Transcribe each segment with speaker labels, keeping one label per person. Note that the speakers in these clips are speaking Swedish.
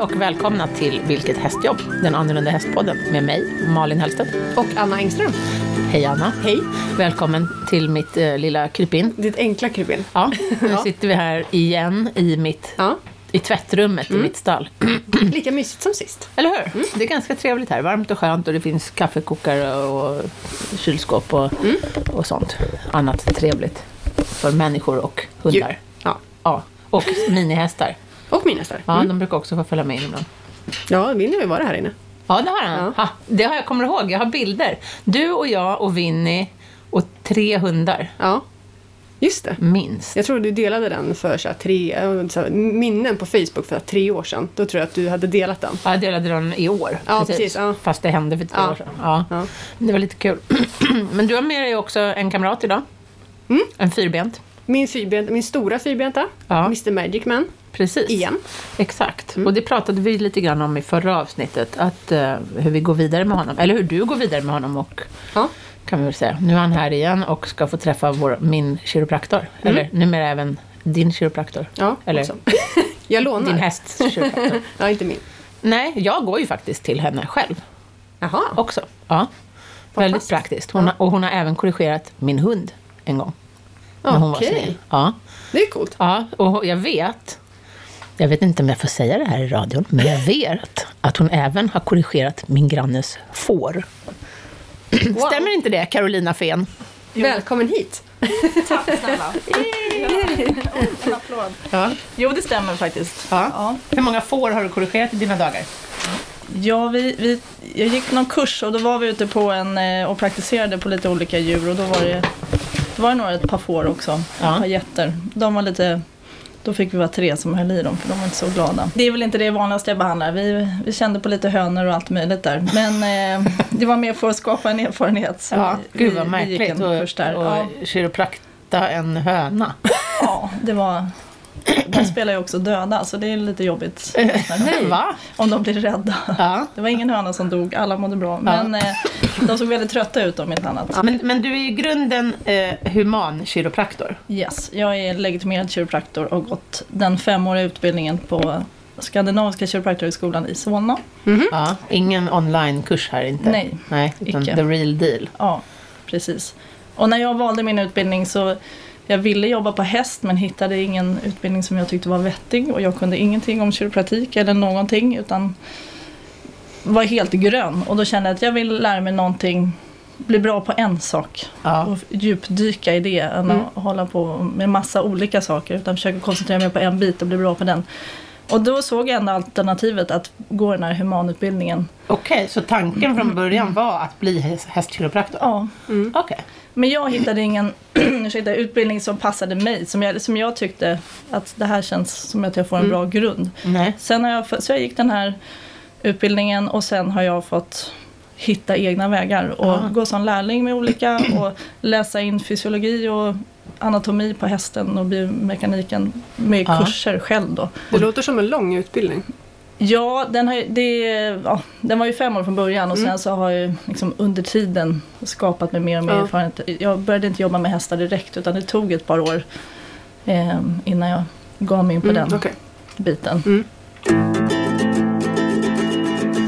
Speaker 1: och välkomna till Vilket hästjobb? Den annorlunda hästpodden med mig, Malin Hellstedt.
Speaker 2: Och Anna Engström.
Speaker 1: Hej Anna.
Speaker 2: Hej.
Speaker 1: Välkommen till mitt eh, lilla krypin.
Speaker 2: Ditt enkla krypin.
Speaker 1: Ja, nu
Speaker 2: Ja.
Speaker 1: sitter vi här igen i, mitt,
Speaker 2: Ja.
Speaker 1: i tvättrummet
Speaker 2: Mm.
Speaker 1: i mitt stall.
Speaker 2: Lika mysigt som sist.
Speaker 1: Eller hur?
Speaker 2: Mm.
Speaker 1: Det är ganska trevligt här. Varmt och skönt och det finns kaffekokare och kylskåp och,
Speaker 2: Mm.
Speaker 1: och sånt. Annat trevligt för människor och hundar.
Speaker 2: Djur. Ja.
Speaker 1: Ja, och minihästar.
Speaker 2: Och min hästar.
Speaker 1: Ja, de brukar också få följa med in ibland.
Speaker 2: Ja, Vinny har ju varit här inne.
Speaker 1: Ja, det har han. Ha, det har jag kommer ihåg. Jag har bilder. Du och jag och Vinny och tre hundar,
Speaker 2: Ja. Just det.
Speaker 1: minst.
Speaker 2: Jag tror du delade den för så här, tre, eh, så här, minnen på Facebook för tre år sedan. Då tror jag att du hade delat den.
Speaker 1: Ja, jag delade den i år.
Speaker 2: Ja, precis, ja.
Speaker 1: Fast det hände för tre
Speaker 2: Ja.
Speaker 1: år sedan. Ja.
Speaker 2: Ja.
Speaker 1: Det var lite kul. Men du har med dig också en kamrat idag.
Speaker 2: Mm.
Speaker 1: En fyrbent.
Speaker 2: Min, fyrbent, min stora fyrbenta,
Speaker 1: Ja.
Speaker 2: Mr Magic Man.
Speaker 1: Precis.
Speaker 2: Igen. Mm.
Speaker 1: Exakt. Och det pratade vi lite grann om i förra avsnittet. Att, eh, hur vi går vidare med honom. Eller hur du går vidare med honom och
Speaker 2: Ja.
Speaker 1: kan vi väl säga. Nu är han här igen och ska få träffa vår, min
Speaker 2: Mm.
Speaker 1: kiropraktor. Eller numera även din kiropraktor.
Speaker 2: ja
Speaker 1: Eller
Speaker 2: också. jag lånar.
Speaker 1: din hästs kiropraktor.
Speaker 2: Ja, inte min.
Speaker 1: Nej, jag går ju faktiskt till henne själv
Speaker 2: Jaha.
Speaker 1: också. Ja. Väldigt praktiskt. Hon har, och hon har även korrigerat min hund en gång. När hon var
Speaker 2: Okej.
Speaker 1: snäll. Ja.
Speaker 2: Det är coolt.
Speaker 1: ja, och jag vet jag vet inte om jag får säga det här i radion, men jag vet att hon även har korrigerat min grannes får. Stämmer inte det, Carolina Fen?
Speaker 2: Välkommen hit.
Speaker 3: Tack snälla. En applåd.
Speaker 1: Ja.
Speaker 3: Jo, det stämmer faktiskt.
Speaker 1: Ja.
Speaker 3: Ja.
Speaker 1: Hur många får har du korrigerat i dina dagar?
Speaker 3: Ja, vi, vi, jag gick någon kurs och då var vi ute på en eh, och praktiserade på lite olika djur och då var det, det var det några ett par får också,
Speaker 1: Ja.
Speaker 3: ett par getter. De var lite, då fick vi vara tre som höll i dem för de var inte så glada. Det är väl inte det vanligaste jag behandlar, vi, vi kände på lite hönor och allt möjligt där. Men eh, det var mer för att skapa en erfarenhet. Så
Speaker 1: Ja,
Speaker 3: vi-
Speaker 1: gud vad
Speaker 3: vi- Vi gick
Speaker 1: märkligt.
Speaker 3: en kurs där.
Speaker 1: Och, och
Speaker 3: Ja.
Speaker 1: kiroprakta en höna.
Speaker 3: Ja, det var... De spelar ju också döda, så det är lite jobbigt.
Speaker 1: Va?
Speaker 3: Om de blir rädda.
Speaker 1: Ja.
Speaker 3: Det var ingen höna som dog, alla mådde bra. Men eh, de såg väldigt trötta ut om inte annat.
Speaker 1: Men, men du är i grunden eh, human kiropraktor.
Speaker 3: Mm. Yes, jag är legitimerad kiropraktor och gått den femåriga utbildningen på Skandinaviska kiropraktorhögskolan i Solna.
Speaker 1: Ja, ingen online-kurs här inte?
Speaker 3: Nej,
Speaker 1: Nej utan
Speaker 3: icke.
Speaker 1: the real deal.
Speaker 3: Ja, precis. Och när jag valde min utbildning så jag ville jobba på häst men hittade ingen utbildning som jag tyckte var vettig och jag kunde ingenting om kiropraktik eller någonting utan var helt grön och då kände jag att jag vill lära mig någonting, bli bra på en sak
Speaker 1: Ja.
Speaker 3: och djupdyka i det än
Speaker 2: Mm.
Speaker 3: att hålla på med massa olika saker utan försöka koncentrera mig på en bit och bli bra på den. Och då såg jag ändå alternativet att gå den här humanutbildningen.
Speaker 1: Okej, så tanken från början var att bli häst- hästkiropraktor?
Speaker 3: Ja,
Speaker 2: Mm.
Speaker 1: Okej.
Speaker 3: Men jag hittade ingen ursäkta, utbildning som passade mig, som jag, som jag tyckte att det här känns som att jag får en
Speaker 1: Mm.
Speaker 3: bra grund.
Speaker 1: Nej.
Speaker 3: Sen har jag, fått- så jag gick den här utbildningen och sen har jag fått hitta egna vägar och
Speaker 1: Ah.
Speaker 3: gå som lärling med olika och läsa in fysiologi och anatomi på hästen och biomekaniken med
Speaker 1: Ah.
Speaker 3: kurser själv då.
Speaker 2: Det låter som en lång utbildning.
Speaker 3: Ja, den, har, ju- det, ja, den var ju fem år från början och
Speaker 2: Mm.
Speaker 3: sen så har jag ju liksom under tiden skapat mig mer och mer
Speaker 2: Ja.
Speaker 3: erfarenhet. Jag började inte jobba med hästar direkt utan det tog ett par år eh, innan jag gav mig in på
Speaker 2: Mm,
Speaker 3: den
Speaker 2: okej.
Speaker 3: biten.
Speaker 2: Mm.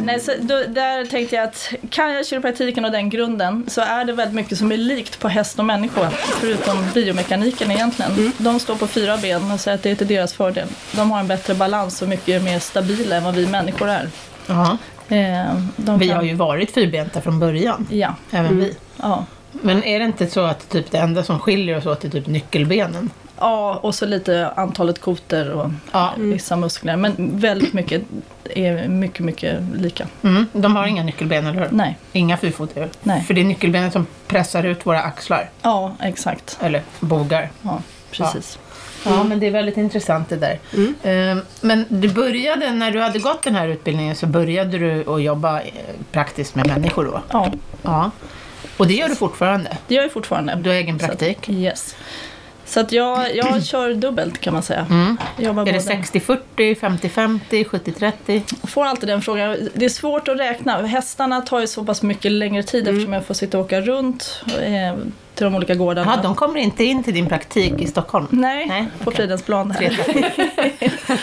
Speaker 3: Nej, så då, där tänkte jag att kan jag kiropraktiken och den grunden så är det väldigt mycket som är likt på häst och människa. Förutom biomekaniken egentligen.
Speaker 1: Mm.
Speaker 3: De står på fyra ben och säger att det är till deras fördel. De har en bättre balans och mycket mer stabila än vad vi människor är.
Speaker 1: Ja.
Speaker 3: Eh, de
Speaker 1: Vi
Speaker 3: kan-
Speaker 1: har ju varit fyrbenta från början,
Speaker 3: Ja,
Speaker 1: även vi.
Speaker 3: ja.
Speaker 1: Men är det inte så att typ det enda som skiljer oss åt är typ nyckelbenen?
Speaker 3: ja, och så lite antalet koter och
Speaker 1: Ja.
Speaker 3: vissa muskler. Men väldigt mycket är mycket, mycket lika.
Speaker 1: Mm. De har inga nyckelben, eller hur?
Speaker 3: Nej,
Speaker 1: Inga fyrfotingar?
Speaker 3: Nej.
Speaker 1: För det är nyckelbenen som pressar ut våra axlar,
Speaker 3: ja exakt.
Speaker 1: eller bogar.
Speaker 3: Ja, precis.
Speaker 1: Ja, men det är väldigt intressant det där. Eh, Men du började, när du hade gått den här utbildningen så började du att jobba eh, praktiskt med människor då?
Speaker 3: Ja,
Speaker 1: Ja. Och det gör du fortfarande?
Speaker 3: det gör jag fortfarande.
Speaker 1: Du har egen
Speaker 3: Så att-
Speaker 1: praktik?
Speaker 3: Yes. Så att jag, jag kör dubbelt kan man säga. Jobbar
Speaker 1: Mm. Är det
Speaker 3: både-
Speaker 1: 60-40, 50-50, 70-30?
Speaker 3: får alltid den frågan. Det är svårt
Speaker 1: Mm.
Speaker 3: att räkna. Hästarna tar ju så pass mycket längre tid eftersom jag får sitta och åka runt. Eh, till till de olika gårdarna.
Speaker 1: Jaha, de kommer inte in till din praktik i Stockholm?
Speaker 3: Nej,
Speaker 1: Nej,
Speaker 3: på
Speaker 1: okej.
Speaker 3: Fridhemsplan. här.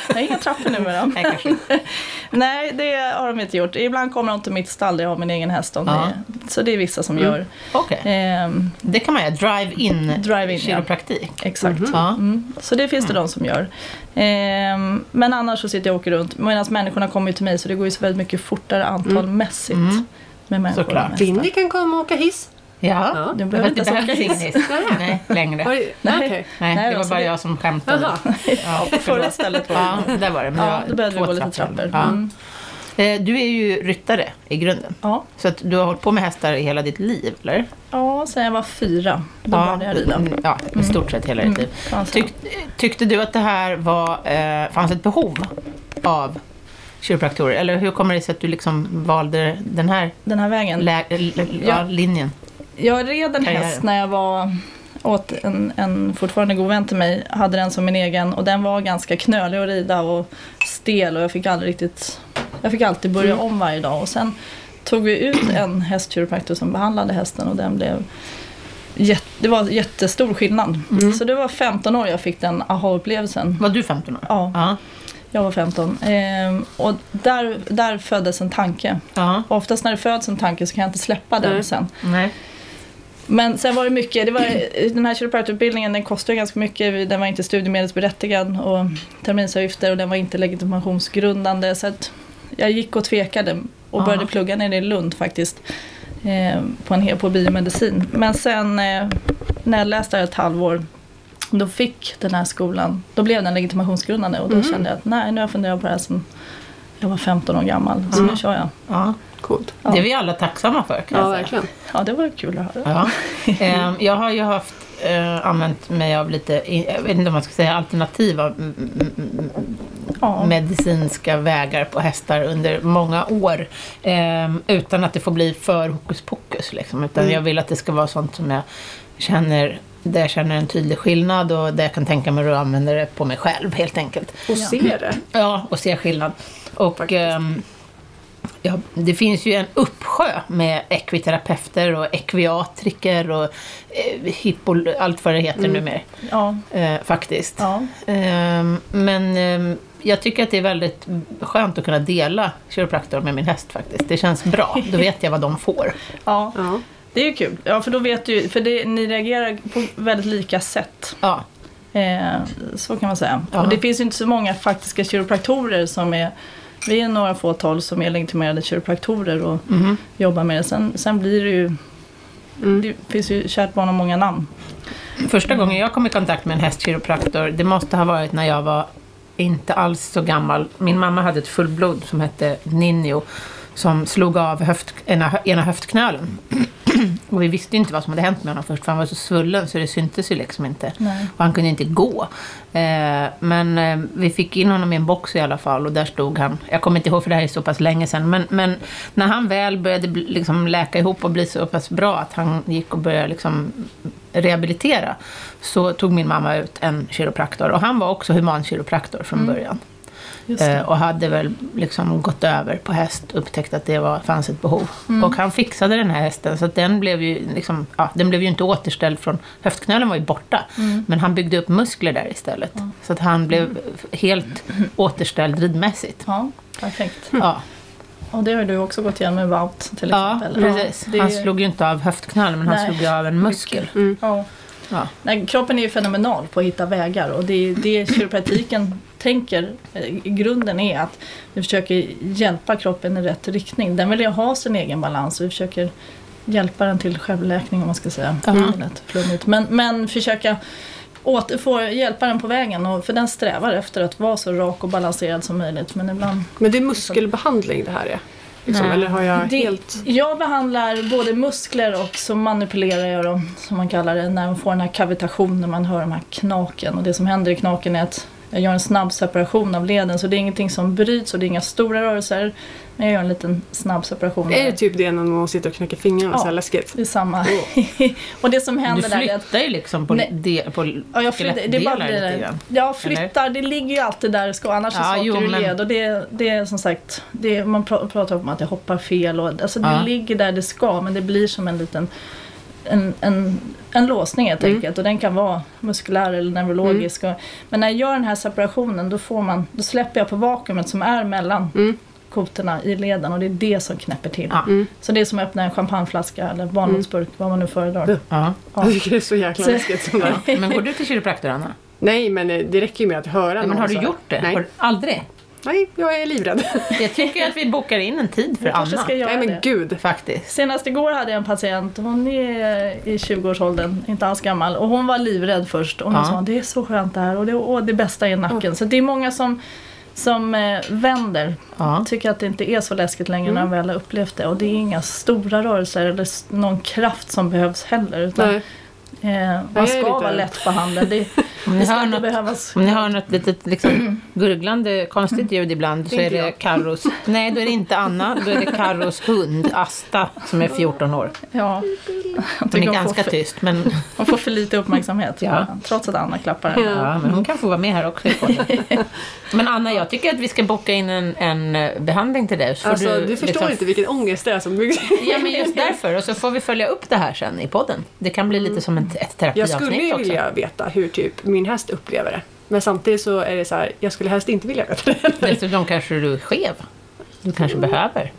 Speaker 3: Jag har inga trappor nu med dem.
Speaker 1: Nej, kanske.
Speaker 3: Nej, det har de inte gjort. Ibland kommer de till mitt stall där jag har min egen häst. Om
Speaker 1: Ja. Mm.
Speaker 3: det. Så det är vissa som gör.
Speaker 1: Okej.
Speaker 3: Ehm,
Speaker 1: Det kan man göra, drive-in
Speaker 3: Drive-in, ja.
Speaker 1: kiropraktik.
Speaker 3: exakt.
Speaker 1: Ja.
Speaker 3: Mm. Så det finns det de som gör. Ehm, men annars så sitter jag och åker runt. Medan människorna kommer ju till mig så det går ju så väldigt mycket fortare antalmässigt. Med människor och
Speaker 1: Mm. Såklart.
Speaker 3: med hästar.
Speaker 2: Vindy kan komma och åka hiss.
Speaker 1: Ja,
Speaker 2: Ja.
Speaker 1: det
Speaker 3: Du
Speaker 1: behöver
Speaker 3: behöver
Speaker 1: inte
Speaker 3: inte
Speaker 1: behövs
Speaker 3: åka
Speaker 1: ingen
Speaker 3: hiss.
Speaker 1: hiss. Nej, längre.
Speaker 2: Var det-
Speaker 3: Nej.
Speaker 2: okej.
Speaker 1: Nej,
Speaker 3: Nej,
Speaker 1: det var
Speaker 3: alltså
Speaker 1: bara
Speaker 3: det-
Speaker 1: jag som skämtade.
Speaker 2: Jaha.
Speaker 1: Ja,
Speaker 3: På förra
Speaker 1: förlåt.
Speaker 3: stället var det.
Speaker 1: Ja, där var det. Men det
Speaker 3: Ja,
Speaker 1: var
Speaker 3: då började vi
Speaker 1: två
Speaker 3: gå lite trappor.
Speaker 1: Ja.
Speaker 3: Mm.
Speaker 1: Eh, Du är ju ryttare i grunden.
Speaker 3: Ja.
Speaker 1: Så att du har hållit på med hästar i hela ditt liv, eller?
Speaker 3: ja, sen jag var fyra. Då började jag rida.
Speaker 1: mm, ja i stort sett hela ditt liv.
Speaker 3: Mm.
Speaker 1: Tyck, tyckte du att det här var, eh, fanns ett behov av kiropraktorer? Eller hur kommer det sig att du liksom valde den här
Speaker 3: Den här vägen.
Speaker 1: lä- l- l- ja.
Speaker 3: Ja.
Speaker 1: linjen?
Speaker 3: Jag red en
Speaker 1: Karriären.
Speaker 3: häst när jag var åt en, en fortfarande god vän till mig, hade den som min egen och den var ganska knölig att rida och stel och jag fick aldrig riktigt Jag fick alltid börja om varje dag och sen tog vi ut en hästkiropraktor som behandlade hästen och den blev jätte, Det var jättestor skillnad. Så det var 15 år jag fick den aha-upplevelsen.
Speaker 1: Var du 15 år?
Speaker 3: Ja,
Speaker 1: Ja.
Speaker 3: jag var 15. Ehm, och där, där föddes en tanke.
Speaker 1: ja.
Speaker 3: Oftast när det föds en tanke så kan jag inte släppa den
Speaker 2: Nej.
Speaker 3: sen.
Speaker 1: Nej.
Speaker 3: Men sen var det mycket, det var, den här kiropraktorutbildningen den kostade ju ganska mycket, den var inte studiemedelsberättigad och terminsavgifter och den var inte legitimationsgrundande så att jag gick och tvekade och
Speaker 1: Ja.
Speaker 3: började plugga nere i Lund faktiskt eh, på, en, he- på biomedicin. Men sen eh, när jag läste där ett halvår då fick den här skolan, då blev den legitimationsgrundande och då
Speaker 1: Mm.
Speaker 3: kände jag att nej nu har jag funderat på det här sen jag var 15 år gammal så nu kör jag.
Speaker 1: Ja.
Speaker 2: Coolt.
Speaker 3: Ja.
Speaker 1: Det är vi alla tacksamma för kan
Speaker 2: Ja,
Speaker 1: jag säga.
Speaker 2: verkligen.
Speaker 3: Ja det var kul att höra.
Speaker 1: Ja. Ehm, Jag har ju haft, eh, använt mig av lite, eh, jag vet inte om man ska säga alternativa mm, mm, mm,
Speaker 3: Ja.
Speaker 1: medicinska vägar på hästar under många år. ehm, utan att det får bli för hokus pokus. Liksom. Utan jag vill att det ska vara sånt som jag känner, där jag känner en tydlig skillnad och där jag kan tänka mig att använda det på mig själv helt enkelt.
Speaker 2: Och se det.
Speaker 1: Ja, och se skillnad. Och,
Speaker 2: Faktiskt.
Speaker 1: ehm, ja, det finns ju en uppsjö med ekviterapeuter och ekviatriker och eh, hippo, allt vad det heter numera.
Speaker 3: Ja.
Speaker 1: Eh, faktiskt.
Speaker 3: Ja.
Speaker 1: Ehm, men ehm, jag tycker att det är väldigt skönt att kunna dela kiropraktor med min häst faktiskt. Det känns bra, då vet jag vad de får.
Speaker 3: Ja.
Speaker 2: Ja.
Speaker 3: Det är ju kul. Ja, för då vet du För det, ni reagerar på väldigt lika sätt.
Speaker 1: Ja,
Speaker 3: Eh, så kan man säga.
Speaker 1: Ja.
Speaker 3: Och det finns ju inte så många faktiska kiropraktorer som är vi är några fåtal som är legitimerade kiropraktorer och
Speaker 1: Mm-hmm.
Speaker 3: jobbar med det. Sen, sen blir det ju...
Speaker 2: Mm.
Speaker 3: Det finns ju kärt barn har många namn.
Speaker 1: Första gången jag kom i kontakt med en hästkiropraktor, det måste ha varit när jag var inte alls så gammal. Min mamma hade ett fullblod som hette Ninjo som slog av höft, ena, ena höftknölen. Och vi visste ju inte vad som hade hänt med honom först, för han var så svullen så det syntes ju liksom inte.
Speaker 3: Nej.
Speaker 1: Och han kunde inte gå. Eh, men eh, vi fick in honom i en box i alla fall och där stod han. Jag kommer inte ihåg för det här är så pass länge sedan. Men, men när han väl började bli- liksom läka ihop och bli så pass bra att han gick och började liksom rehabilitera. Så tog min mamma ut en kiropraktor. Och han var också humankiropraktor från början.
Speaker 3: Just
Speaker 1: Eh, och hade väl liksom gått över på häst, upptäckt att det var, fanns ett behov.
Speaker 3: Mm.
Speaker 1: Och han fixade den här hästen, så att den, blev ju liksom, ja, den blev ju inte återställd från... Höftknölen var ju borta,
Speaker 3: Mm.
Speaker 1: men han byggde upp muskler där istället. Så att han blev helt återställd ridmässigt.
Speaker 3: Ja, perfekt.
Speaker 1: Ja,
Speaker 3: Och det har du också gått igenom med Wout till
Speaker 1: ja
Speaker 3: exempel.
Speaker 1: precis.
Speaker 3: det är
Speaker 1: Han
Speaker 3: ju-
Speaker 1: slog ju inte av höftknölen, men han
Speaker 3: Nej.
Speaker 1: slog ju av en muskel.
Speaker 2: Mm.
Speaker 3: Ja.
Speaker 1: Ja.
Speaker 3: Nej, kroppen är ju fenomenal på att hitta vägar och det är det kiropraktiken tänker eh, i grunden är att vi försöker hjälpa kroppen i rätt riktning. Den vill ju ha sin egen balans och vi försöker hjälpa den till självläkning om man ska säga.
Speaker 1: Mm.
Speaker 3: Det lät flummigt. Men, men försöka åter, få hjälpa den på vägen och, för den strävar efter att vara så rak och balanserad som möjligt. Men ibland
Speaker 2: Men det är muskelbehandling det här är? Liksom,
Speaker 1: Nej.
Speaker 2: eller har jag
Speaker 3: det,
Speaker 2: helt...
Speaker 3: Jag behandlar både muskler och så manipulerar jag dem som man kallar det när man får den här kavitationen, man hör de här knaken och det som händer i knaken är att jag gör en snabb separation av leden så det är ingenting som bryts och det är inga stora rörelser men jag gör en liten snabb separation.
Speaker 2: Är det typ det när man sitter och knäcker fingrarna
Speaker 3: Ja.
Speaker 2: så här läskigt?
Speaker 3: det är samma. och det som
Speaker 1: Du
Speaker 3: händer där är att
Speaker 1: flyttar ju liksom på,
Speaker 3: Nej.
Speaker 1: del, på
Speaker 3: Ja, jag flyttar, det
Speaker 1: skelettdelar
Speaker 3: bara blir
Speaker 1: lite
Speaker 3: det.
Speaker 1: grann.
Speaker 3: Jag flyttar, det ligger ju alltid där det ska annars
Speaker 1: Ja,
Speaker 3: så åker
Speaker 1: jo,
Speaker 3: du
Speaker 1: men-
Speaker 3: led och det, det är som sagt, det, man pra- pratar om att jag hoppar fel och alltså
Speaker 1: Ja.
Speaker 3: det ligger där det ska men det blir som en liten en, en, en låsning helt
Speaker 2: Mm.
Speaker 3: enkelt och den kan vara muskulär eller neurologisk.
Speaker 1: Mm.
Speaker 3: Och, men när jag gör den här separationen då, får man, då släpper jag på vakuumet som är mellan
Speaker 2: Mm.
Speaker 3: kotorna i leden och det är det som knäpper till.
Speaker 1: Ja. Mm.
Speaker 2: Mm.
Speaker 3: Så det är som att öppna en champagneflaska eller barnmatsburk, vad man nu föredrar.
Speaker 1: Ja.
Speaker 2: Jag tycker det är så jäkla
Speaker 3: Så-
Speaker 2: läskigt. som det-
Speaker 1: Men går du till kiropraktor, Anna?
Speaker 2: Nej, men eh, det räcker ju med att höra
Speaker 1: Nej, men
Speaker 2: någon
Speaker 1: har du
Speaker 2: säga.
Speaker 1: gjort det?
Speaker 2: Nej,
Speaker 1: Har du, aldrig?
Speaker 2: Nej jag är livrädd.
Speaker 1: Jag tycker att vi bokar in en tid för
Speaker 3: Jag kanske
Speaker 1: Anna.
Speaker 3: ska göra
Speaker 2: Nej, men
Speaker 3: det.
Speaker 2: gud.
Speaker 1: Faktiskt.
Speaker 3: Senast igår hade jag en patient, hon är i 20-årsåldern, inte alls gammal. Och hon var livrädd först. Och hon
Speaker 1: Ja.
Speaker 3: sa det är så skönt det här och det, åh, det bästa är nacken. Så det är många som, som eh, vänder.
Speaker 1: Ja. Mm.
Speaker 3: Tycker att det inte är så läskigt längre när de väl har upplevt det. Och det är inga stora rörelser eller s- någon kraft som behövs heller. Utan,
Speaker 2: Nej.
Speaker 3: eh,
Speaker 2: jag är
Speaker 3: man ska
Speaker 2: lite
Speaker 3: vara
Speaker 2: rädd.
Speaker 3: lätt på handen. Det,
Speaker 1: Om ni
Speaker 3: det ska
Speaker 1: hör
Speaker 3: inte
Speaker 1: något-
Speaker 3: behövas.
Speaker 1: Om ni hör något litet liksom, gurglande konstigt ljud ibland så
Speaker 2: Mm. Det är
Speaker 1: är
Speaker 2: inte
Speaker 1: det
Speaker 2: jag.
Speaker 1: Carros. Nej, då är det inte Anna. Då är det Carros hund Asta som är 14 år.
Speaker 3: Ja. Jag
Speaker 1: Hon
Speaker 3: tycker
Speaker 1: är
Speaker 3: hon, får
Speaker 1: ganska
Speaker 3: för,
Speaker 1: tyst, men,
Speaker 3: hon får för lite uppmärksamhet.
Speaker 1: Ja.
Speaker 3: Trots att Anna klappar henne.
Speaker 1: ja, men hon kan få vara med här också. i podden. Men Anna, jag tycker att vi ska boka in en, en eh, behandling till dig. så får
Speaker 2: Alltså, du, förstår
Speaker 1: liksom-
Speaker 2: inte vilken ångest det är som byggs.
Speaker 1: Ja, men just därför. Och så får vi följa upp det här sen i podden. Det kan bli lite som ett, ett
Speaker 2: Mm. Jag
Speaker 1: terapiavsnitt
Speaker 2: skulle ju
Speaker 1: också.
Speaker 2: vilja veta hur typ min häst upplever det. Men samtidigt så är det så här, jag skulle helst inte vilja veta det.
Speaker 1: Dessutom kanske du är skev. Du kanske behöver.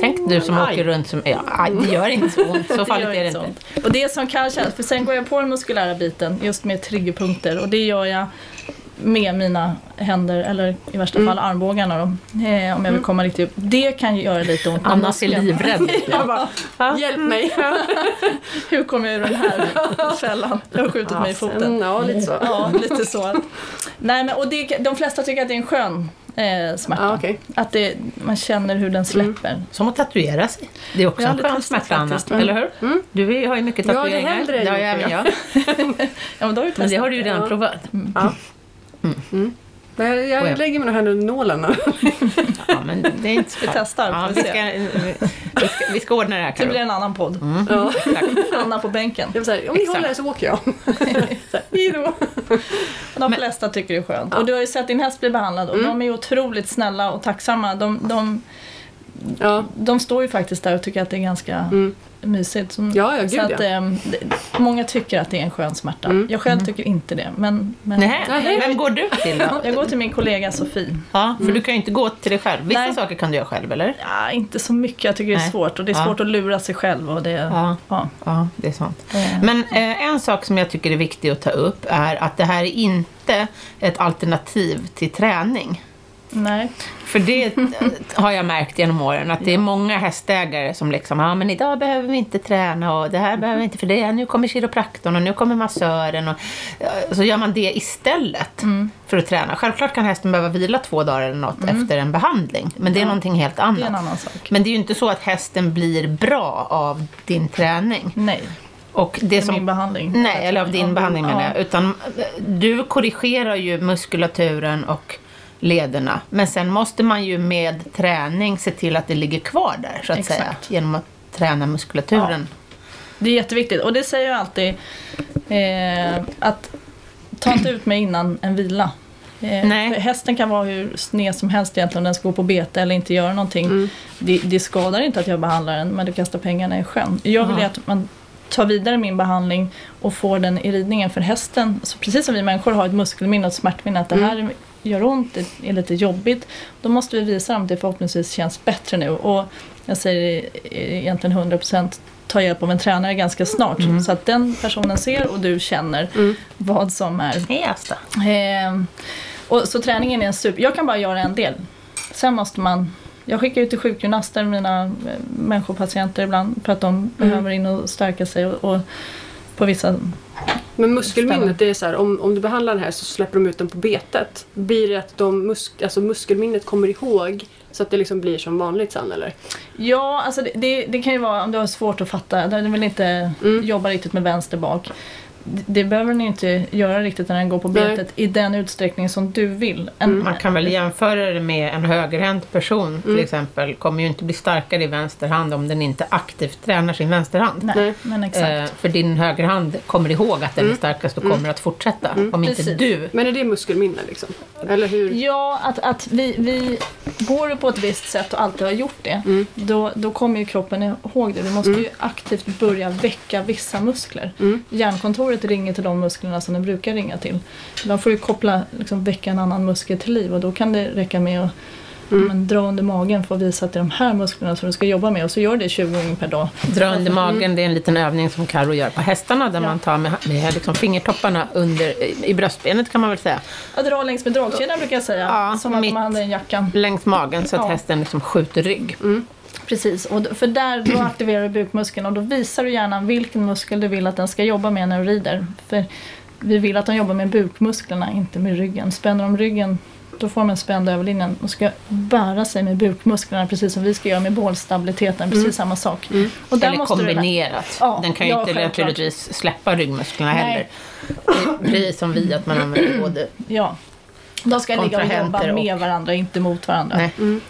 Speaker 1: Tänk du som
Speaker 2: Aj.
Speaker 1: åker runt som... Ja, aj, det gör inte så ont. Så farligt
Speaker 3: gör
Speaker 1: är det
Speaker 3: inte
Speaker 1: inte.
Speaker 3: sånt. Och det som kan kännas, för sen går jag på den muskulära biten just med triggerpunkter och det gör jag med mina händer eller i värsta
Speaker 1: Mm.
Speaker 3: fall armbågarna då, eh, om jag vill komma riktigt upp. Det kan ju göra lite ont.
Speaker 1: Anna ser livrädd ut.
Speaker 2: Jag bara,
Speaker 1: Ja.
Speaker 2: hjälp mig!
Speaker 3: Hur kommer jag ur den här fällan? Jag har skjutit
Speaker 1: Ah,
Speaker 3: mig i foten.
Speaker 2: Mm, ja, lite så.
Speaker 3: Ja, lite så. Nej, men, och det, de flesta tycker att det är en skön eh, smärta.
Speaker 2: Ja, okej.
Speaker 3: Att det, man känner hur
Speaker 1: Mm.
Speaker 3: den släpper.
Speaker 1: Som att tatuera sig. Det är också
Speaker 3: Jag har
Speaker 1: en
Speaker 3: aldrig
Speaker 1: skön
Speaker 3: testat
Speaker 1: smärta, Anna.
Speaker 3: faktiskt, men-
Speaker 1: Eller hur? Du är- har ju mycket
Speaker 2: Jag hade
Speaker 1: tatueringar.
Speaker 2: hellre
Speaker 1: det har
Speaker 2: gjort
Speaker 1: ju även
Speaker 2: det.
Speaker 1: jag.
Speaker 3: Ja, men, då har du
Speaker 1: Men det
Speaker 3: testat
Speaker 1: har du ju redan
Speaker 2: Ja.
Speaker 1: provat.
Speaker 2: Ja. Mm. Men jag,
Speaker 1: Och jag-
Speaker 2: jag lägger mina händer under nålen nu.
Speaker 1: Ja, men det är inte så
Speaker 3: Vi testar,
Speaker 1: Ja,
Speaker 3: får
Speaker 1: vi,
Speaker 3: vi
Speaker 1: ska, vi, ska, vi ska ordna det här, Mm.
Speaker 3: Det blir
Speaker 1: Carro.
Speaker 3: en annan podd.
Speaker 2: Ja.
Speaker 3: Anna på bänken.
Speaker 2: Jag var så här, om ni
Speaker 1: Exakt.
Speaker 2: håller så åker jag. Så här, Hejdå!
Speaker 3: De
Speaker 1: Men- Mm.
Speaker 3: flesta tycker det är skönt. Och du har ju sett din häst bli behandlad och de är ju otroligt snälla och tacksamma. De, de,
Speaker 2: Ja,
Speaker 3: de står ju faktiskt där och tycker att det är ganska
Speaker 1: Mm.
Speaker 3: mysigt. Så,
Speaker 2: Ja, ja, gud,
Speaker 3: så att,
Speaker 2: ja.
Speaker 3: ehm, det- Många tycker att det är en skön smärta.
Speaker 1: Mm.
Speaker 3: Jag själv tycker inte det. Men, men
Speaker 1: Nej,
Speaker 2: Nej.
Speaker 1: vem går du till då?
Speaker 3: jag går till min kollega Sofie.
Speaker 1: Ja, för du kan ju inte gå till dig själv. Vissa
Speaker 3: Nej.
Speaker 1: saker kan du göra själv, eller?
Speaker 3: Ja, inte så mycket, jag tycker det är
Speaker 1: Nej.
Speaker 3: svårt. Och det är
Speaker 1: Ja.
Speaker 3: svårt att lura sig själv. Och det,
Speaker 1: Ja.
Speaker 3: ja.
Speaker 1: Ja, det är sant.
Speaker 3: Eh.
Speaker 1: Men eh, en sak som jag tycker är viktig att ta upp är att det här är inte ett alternativ till träning.
Speaker 3: Nej.
Speaker 1: För det eh, har jag märkt genom åren, att det är många hästägare som liksom, ja men idag behöver vi inte träna och det här behöver vi inte för det, nu kommer kiropraktorn och nu kommer massören och eh, så gör man det istället
Speaker 3: Mm.
Speaker 1: för att träna. Självklart kan hästen behöva vila två dagar eller något efter en behandling, men det är någonting helt annat.
Speaker 3: det är en annan sak.
Speaker 1: Men det är ju inte så att hästen blir bra av din träning.
Speaker 3: Nej,
Speaker 1: Och det
Speaker 3: det är min
Speaker 1: som
Speaker 3: behandling.
Speaker 1: Nej, eller av din behandling menar
Speaker 3: Ja.
Speaker 1: jag. Utan du korrigerar ju muskulaturen och lederna. Men sen måste man ju med träning se till att det ligger kvar där, så att
Speaker 3: Exakt.
Speaker 1: säga. Genom att träna muskulaturen.
Speaker 3: Det är jätteviktigt och det säger jag alltid eh, att ta inte ut mig innan en vila. Eh,
Speaker 1: Nej.
Speaker 3: för Hästen kan vara hur sned som helst egentligen om den ska gå på bete eller inte göra någonting. Det, det skadar inte att jag behandlar den men du kastar pengarna i sjön. Jag vill ju att man tar vidare min behandling och får den i ridningen för hästen. Så precis som vi människor har ett muskelminne och ett smärtminne att det här gör ont, det är lite jobbigt. Då måste vi visa dem att det förhoppningsvis känns bättre nu. Och jag säger eh, egentligen 100% ta hjälp av en tränare ganska snart. Så att den personen ser och du känner vad som är
Speaker 1: Nej, Asta.
Speaker 3: Ehm, och så träningen är en super... Jag kan bara göra en del. Sen måste man... Jag skickar ut till sjukgymnaster mina eh, människopatienter ibland för att de behöver in och stärka sig och, och på vissa...
Speaker 2: Men muskelminnet,
Speaker 3: Spännande.
Speaker 2: det är så här, om, om du behandlar den här så släpper de ut den på betet. Blir det att de musk, alltså muskelminnet kommer ihåg så att det liksom blir som vanligt sen eller?
Speaker 3: Ja, alltså det, det, det kan ju vara om du har svårt att fatta, där du vill inte jobba riktigt med vänster bak. Det, det behöver den ju inte göra riktigt när den går på
Speaker 2: Nej.
Speaker 3: betet i den utsträckning som du vill. En,
Speaker 1: Man kan väl jämföra det med en högerhänt person
Speaker 3: Mm.
Speaker 1: till exempel. Kommer ju inte bli starkare i vänster hand om den inte aktivt tränar sin vänsterhand.
Speaker 3: Nej,
Speaker 2: Nej.
Speaker 3: men exakt. Mm.
Speaker 1: Eh, för din högerhand kommer ihåg att den är starkast och kommer att fortsätta. Om inte
Speaker 3: Precis.
Speaker 1: du
Speaker 2: Men är det muskelminne liksom? Eller hur?
Speaker 3: Ja, att, att vi, vi går du på ett visst sätt och alltid har gjort det,
Speaker 2: Mm.
Speaker 3: då, då kommer ju kroppen ihåg det. Du måste
Speaker 2: Mm.
Speaker 3: ju aktivt börja väcka vissa muskler.
Speaker 2: Mm.
Speaker 3: Hjärnkontoret ringer till de musklerna som de brukar ringa till. De får ju koppla, liksom, väcka en annan muskel till liv och då kan det räcka med att
Speaker 2: Mm.
Speaker 3: men, dra under magen för att visa att det är de här musklerna som du ska jobba med och så gör det 20 gånger per dag.
Speaker 1: Dra under magen, det är en liten övning som Karo gör på hästarna där
Speaker 3: Mm. Ja.
Speaker 1: man tar med, med liksom fingertopparna under, i- i bröstbenet kan man väl säga,
Speaker 3: Att dra längs med dragkedjan brukar jag säga,
Speaker 1: Ja,
Speaker 3: som att
Speaker 1: mitt.
Speaker 3: man hade en jackan.
Speaker 1: längs magen så att
Speaker 3: Ja.
Speaker 1: hästen liksom skjuter rygg.
Speaker 3: Precis, och d- för där då aktiverar du bukmuskeln och då visar du hjärnan vilken muskel du vill att den ska jobba med när du rider. För vi vill att de jobbar med bukmusklerna, inte med ryggen. Spänner de ryggen, då får de en spänd överlinjen och ska bära sig med bukmusklerna precis som vi ska göra med bålstabiliteten, precis samma sak. Och
Speaker 1: Mm. Eller kombinerat.
Speaker 3: Ja,
Speaker 1: Den kan ju
Speaker 3: ja,
Speaker 1: inte
Speaker 3: självklart.
Speaker 1: naturligtvis släppa ryggmusklerna
Speaker 3: Nej.
Speaker 1: heller. Det är Precis som vi, att man använder både...
Speaker 3: Du, ja. De ska ligga och jobba
Speaker 1: Kontrahenter och-
Speaker 3: med varandra, inte mot varandra.
Speaker 1: Nej. För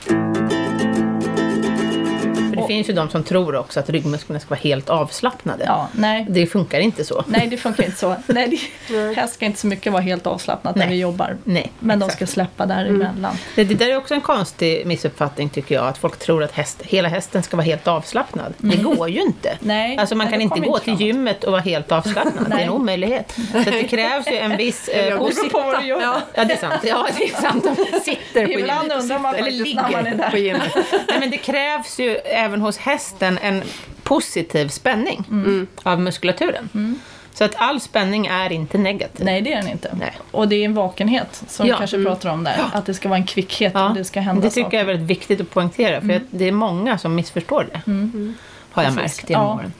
Speaker 1: det finns ju de som tror också att ryggmusklerna ska vara helt avslappnade.
Speaker 3: Ja, nej.
Speaker 1: Det funkar inte så.
Speaker 3: nej, det funkar inte så. Nej, det, här ska inte så mycket vara helt avslappnat när
Speaker 1: Nej.
Speaker 3: vi jobbar.
Speaker 1: Nej,
Speaker 3: Men de
Speaker 1: exakt. Mm.
Speaker 3: ska släppa däremellan.
Speaker 1: Det, det där är också en konstig missuppfattning tycker jag, att folk tror att häst, hela hästen ska vara helt avslappnad. Det
Speaker 3: Mm.
Speaker 1: går ju inte.
Speaker 3: Nej,
Speaker 1: alltså man
Speaker 3: nej,
Speaker 1: kan
Speaker 3: det
Speaker 1: inte
Speaker 3: kommer
Speaker 1: gå
Speaker 3: inte
Speaker 1: till
Speaker 3: framåt.
Speaker 1: gymmet och vara helt avslappnad, det är en
Speaker 3: Nej.
Speaker 1: omöjlighet. Så att det krävs ju en viss... Eh,
Speaker 2: Jag beror
Speaker 1: och
Speaker 3: på vad
Speaker 1: sitta.
Speaker 3: du gör.
Speaker 1: Ja. ja, det är sant. Ja, det är sant. Om man sitter på
Speaker 3: Ibland
Speaker 1: gymmet och
Speaker 3: undrar man
Speaker 1: sitter, eller
Speaker 3: faktiskt när man
Speaker 2: Mm.
Speaker 3: är
Speaker 1: ligger
Speaker 3: där.
Speaker 1: på gymmet. Nej, men det krävs ju även hos hästen en positiv spänning
Speaker 2: Mm.
Speaker 1: av muskulaturen. Så att all spänning är inte negativ.
Speaker 3: Mm. Nej, det är den inte.
Speaker 1: Nej.
Speaker 3: Och det är en vakenhet som
Speaker 1: Ja.
Speaker 3: vi kanske pratar om där. Att det ska vara en kvickhet och det Mm. ska hända
Speaker 1: det tycker
Speaker 3: saker.
Speaker 1: jag är väldigt viktigt att poängtera, för att det är många som missförstår det. Har jag
Speaker 3: Mm. Precis.
Speaker 1: märkt genom
Speaker 3: Ja.
Speaker 1: åren.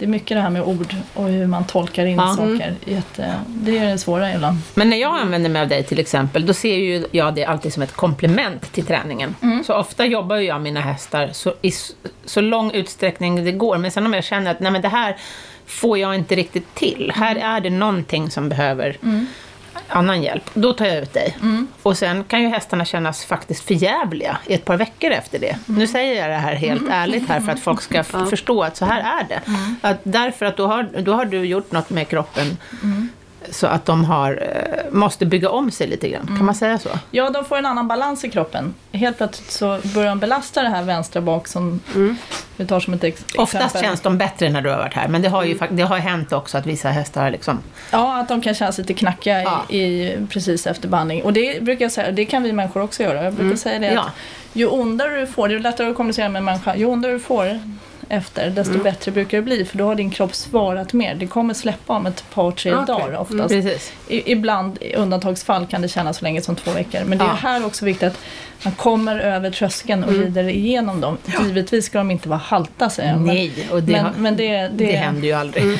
Speaker 3: Det är mycket det här med ord och hur man tolkar in
Speaker 1: Ja. Mm.
Speaker 3: saker. Jätte... Det är det svåra ibland.
Speaker 1: Men när jag använder mig av dig till exempel, då ser ju jag det alltid som ett komplement till träningen. Så ofta jobbar ju jag mina hästar så, i s- så lång utsträckning det går, men sen om jag känner att nej men det här får jag inte riktigt till, här är det någonting som behöver annan hjälp, då tar jag ut dig. Och sen kan ju hästarna kännas faktiskt förjävliga i ett par veckor efter det. Nu säger jag det här helt ärligt här för att folk ska f- förstå att så här är det. Att därför att då har, då har du gjort något med kroppen så att de har, eh, måste bygga om sig lite grann.
Speaker 3: Mm.
Speaker 1: Kan man säga så?
Speaker 3: Ja, de får en annan balans i kroppen. Helt plötsligt så börjar de belasta det här vänstra bak som
Speaker 2: Mm.
Speaker 3: vi tar som ett ex- exempel. Mm.
Speaker 1: Oftast känns de bättre när du har varit här, men det har ju fak- det har hänt också att vissa hästar har liksom...
Speaker 3: Ja, att de kan kännas lite knackiga
Speaker 1: Ja.
Speaker 3: i, i, precis efter behandling. Och det brukar jag säga, det kan vi människor också göra. Jag brukar säga det
Speaker 1: Mm. Ja.
Speaker 3: att ju ondare du får, det är lättare att kommunicera med en människa, ju ondare du får efter, desto
Speaker 1: Mm.
Speaker 3: bättre brukar det bli. För då har din kropp svarat mer. Det kommer släppa om ett par, tre
Speaker 2: Okej.
Speaker 3: dagar
Speaker 1: Mm.
Speaker 3: oftast.
Speaker 1: Precis.
Speaker 3: I, ibland, i undantagsfall, kan det kännas så länge som två veckor. Men det är
Speaker 1: Ja. Mm.
Speaker 3: här också viktigt att man kommer över tröskeln och rider igenom dem. Givetvis ska de inte vara halta, säger jag. men-
Speaker 1: Nej, och det,
Speaker 3: Men,
Speaker 1: har,
Speaker 3: men det, Mm.
Speaker 1: det...
Speaker 3: det,
Speaker 1: händer ju aldrig.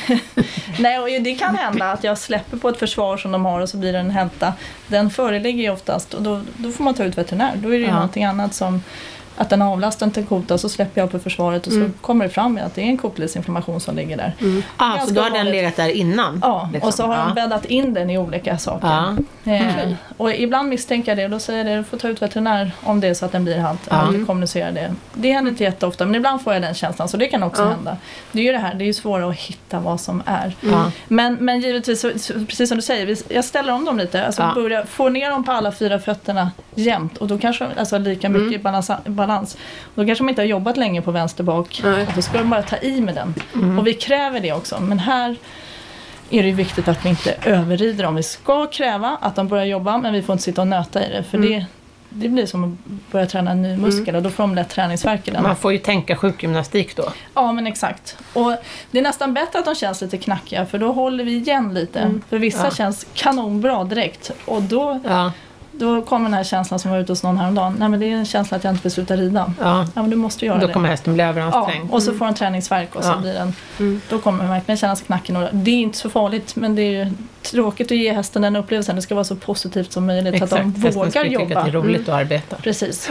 Speaker 3: Nej, och det kan hända att jag släpper på ett försvar som de har och så blir det en hälta. Den föreligger ju oftast och då, då får man ta ut veterinär. Då är det ju
Speaker 1: Ja.
Speaker 3: någonting annat som att den har avlastat en kota och så släpper jag på försvaret och så
Speaker 1: Mm.
Speaker 3: kommer det fram att det är en kotledsinflammation som ligger där.
Speaker 1: Ah, så
Speaker 3: Ganska
Speaker 1: då har den
Speaker 3: vanligt.
Speaker 1: legat där innan?
Speaker 3: Ja,
Speaker 1: liksom.
Speaker 3: och så har
Speaker 1: ja.
Speaker 3: de bäddat in den i olika saker.
Speaker 1: Ja. Mm.
Speaker 3: Eh, Och ibland misstänker jag det och då säger jag det, du får ta ut veterinär om det är så att den blir halt.
Speaker 1: Ja.
Speaker 3: Eller kommunicera det. Det händer inte jätteofta men ibland får jag den känslan så det kan också
Speaker 2: Ja.
Speaker 3: hända. Det är ju det här, det är ju svårare att hitta vad som är.
Speaker 1: Ja.
Speaker 3: Men, men givetvis, så, så, precis som du säger, vi- jag ställer om dem lite. Alltså
Speaker 1: Ja.
Speaker 3: börja få ner dem på alla fyra fötterna jämnt och då kanske de alltså, lika mycket i balans, balans. Då kanske de inte har jobbat länge på vänster bak.
Speaker 2: Nej.
Speaker 3: Och Då ska de bara ta i med den. Och vi kräver det också. Men här är det ju viktigt att vi inte överrider dem. Vi ska kräva att de börjar jobba men vi får inte sitta och nöta i det. För det, det blir som att börja träna en ny muskel och då får de lätt träningsvärk i den.
Speaker 1: Man får ju tänka sjukgymnastik då.
Speaker 3: Ja men exakt. Och det är nästan bättre att de känns lite knackiga för då håller vi igen lite. För vissa
Speaker 1: Mm. Ja.
Speaker 3: känns kanonbra direkt och då,
Speaker 1: Ja,
Speaker 3: då kommer den här känslan som var ute hos någon häromdagen. Nej men det är en känsla att jag inte vill sluta rida.
Speaker 1: ja.
Speaker 3: Ja men du måste göra
Speaker 1: Då
Speaker 3: det.
Speaker 1: kommer hästen bli
Speaker 3: Ja,
Speaker 1: överansträngd.
Speaker 3: och så får den träningsvärk och så
Speaker 1: Ja.
Speaker 3: blir den,
Speaker 2: Mm.
Speaker 3: då kommer den verkligen kännas knackig. några- Det är inte så farligt men det är ju tråkigt att ge hästen den upplevelsen. Det ska vara så positivt som möjligt att de
Speaker 1: hästen ska
Speaker 3: vågar
Speaker 1: ju tycka att
Speaker 3: jobba. Mm.
Speaker 1: det är roligt att arbeta.
Speaker 3: Precis.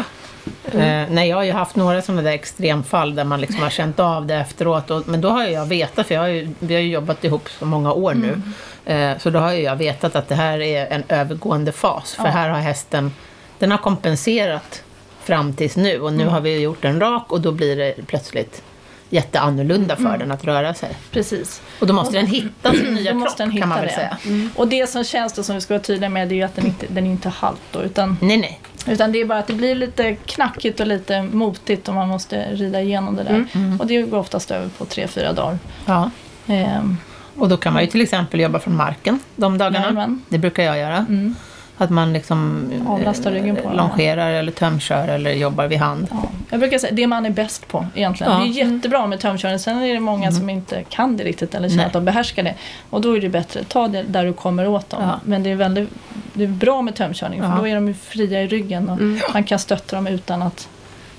Speaker 3: Mm.
Speaker 1: Eh, nej, jag har ju haft några sådana där extremfall där man liksom har känt av det efteråt. Och, men då har ju jag vetat, för jag har ju, vi har ju jobbat ihop så många år nu.
Speaker 3: Mm.
Speaker 1: Eh, så då har ju jag vetat att det här är en övergående fas. För
Speaker 3: Ja.
Speaker 1: här har hästen, den har
Speaker 3: Mm.
Speaker 1: kompenserat fram tills nu. Och nu har vi gjort en rak och då blir det plötsligt jätteannorlunda för den att röra sig.
Speaker 3: Precis.
Speaker 1: Och då måste den hitta sin nya
Speaker 3: Mm. Då
Speaker 1: kropp
Speaker 3: måste den hitta
Speaker 1: kan man väl
Speaker 3: det.
Speaker 1: säga.
Speaker 3: Och det som känns då som vi ska vara tydliga med det är ju att den inte, den är inte halt då, utan,
Speaker 1: Nej, nej.
Speaker 3: utan det är bara att det blir lite knackigt och lite motigt och man måste rida igenom det där.
Speaker 2: Mm.
Speaker 3: Och det går oftast över på tre, fyra dagar.
Speaker 1: Ja.
Speaker 3: Ehm,
Speaker 1: Och då kan man ju till exempel jobba från marken de dagarna.
Speaker 3: Jajamän.
Speaker 1: Det brukar jag göra.
Speaker 3: mm.
Speaker 1: Att man liksom eh,
Speaker 3: Avlastar ryggen på den.
Speaker 1: longerar eller tömkör eller jobbar vid hand.
Speaker 3: Ja. Jag brukar säga det man är bäst på egentligen.
Speaker 1: Ja. Mm.
Speaker 3: Det är jättebra med tömkörning. Sen är det många som inte kan det riktigt eller känner
Speaker 1: Nej.
Speaker 3: att de behärskar det. Och då är det bättre, ta det där du kommer åt dem.
Speaker 1: Ja.
Speaker 3: Men det är, väldigt, det är bra med tömkörning
Speaker 1: Ja.
Speaker 3: för då är de ju fria i ryggen och
Speaker 2: Mm.
Speaker 3: man kan stötta dem utan att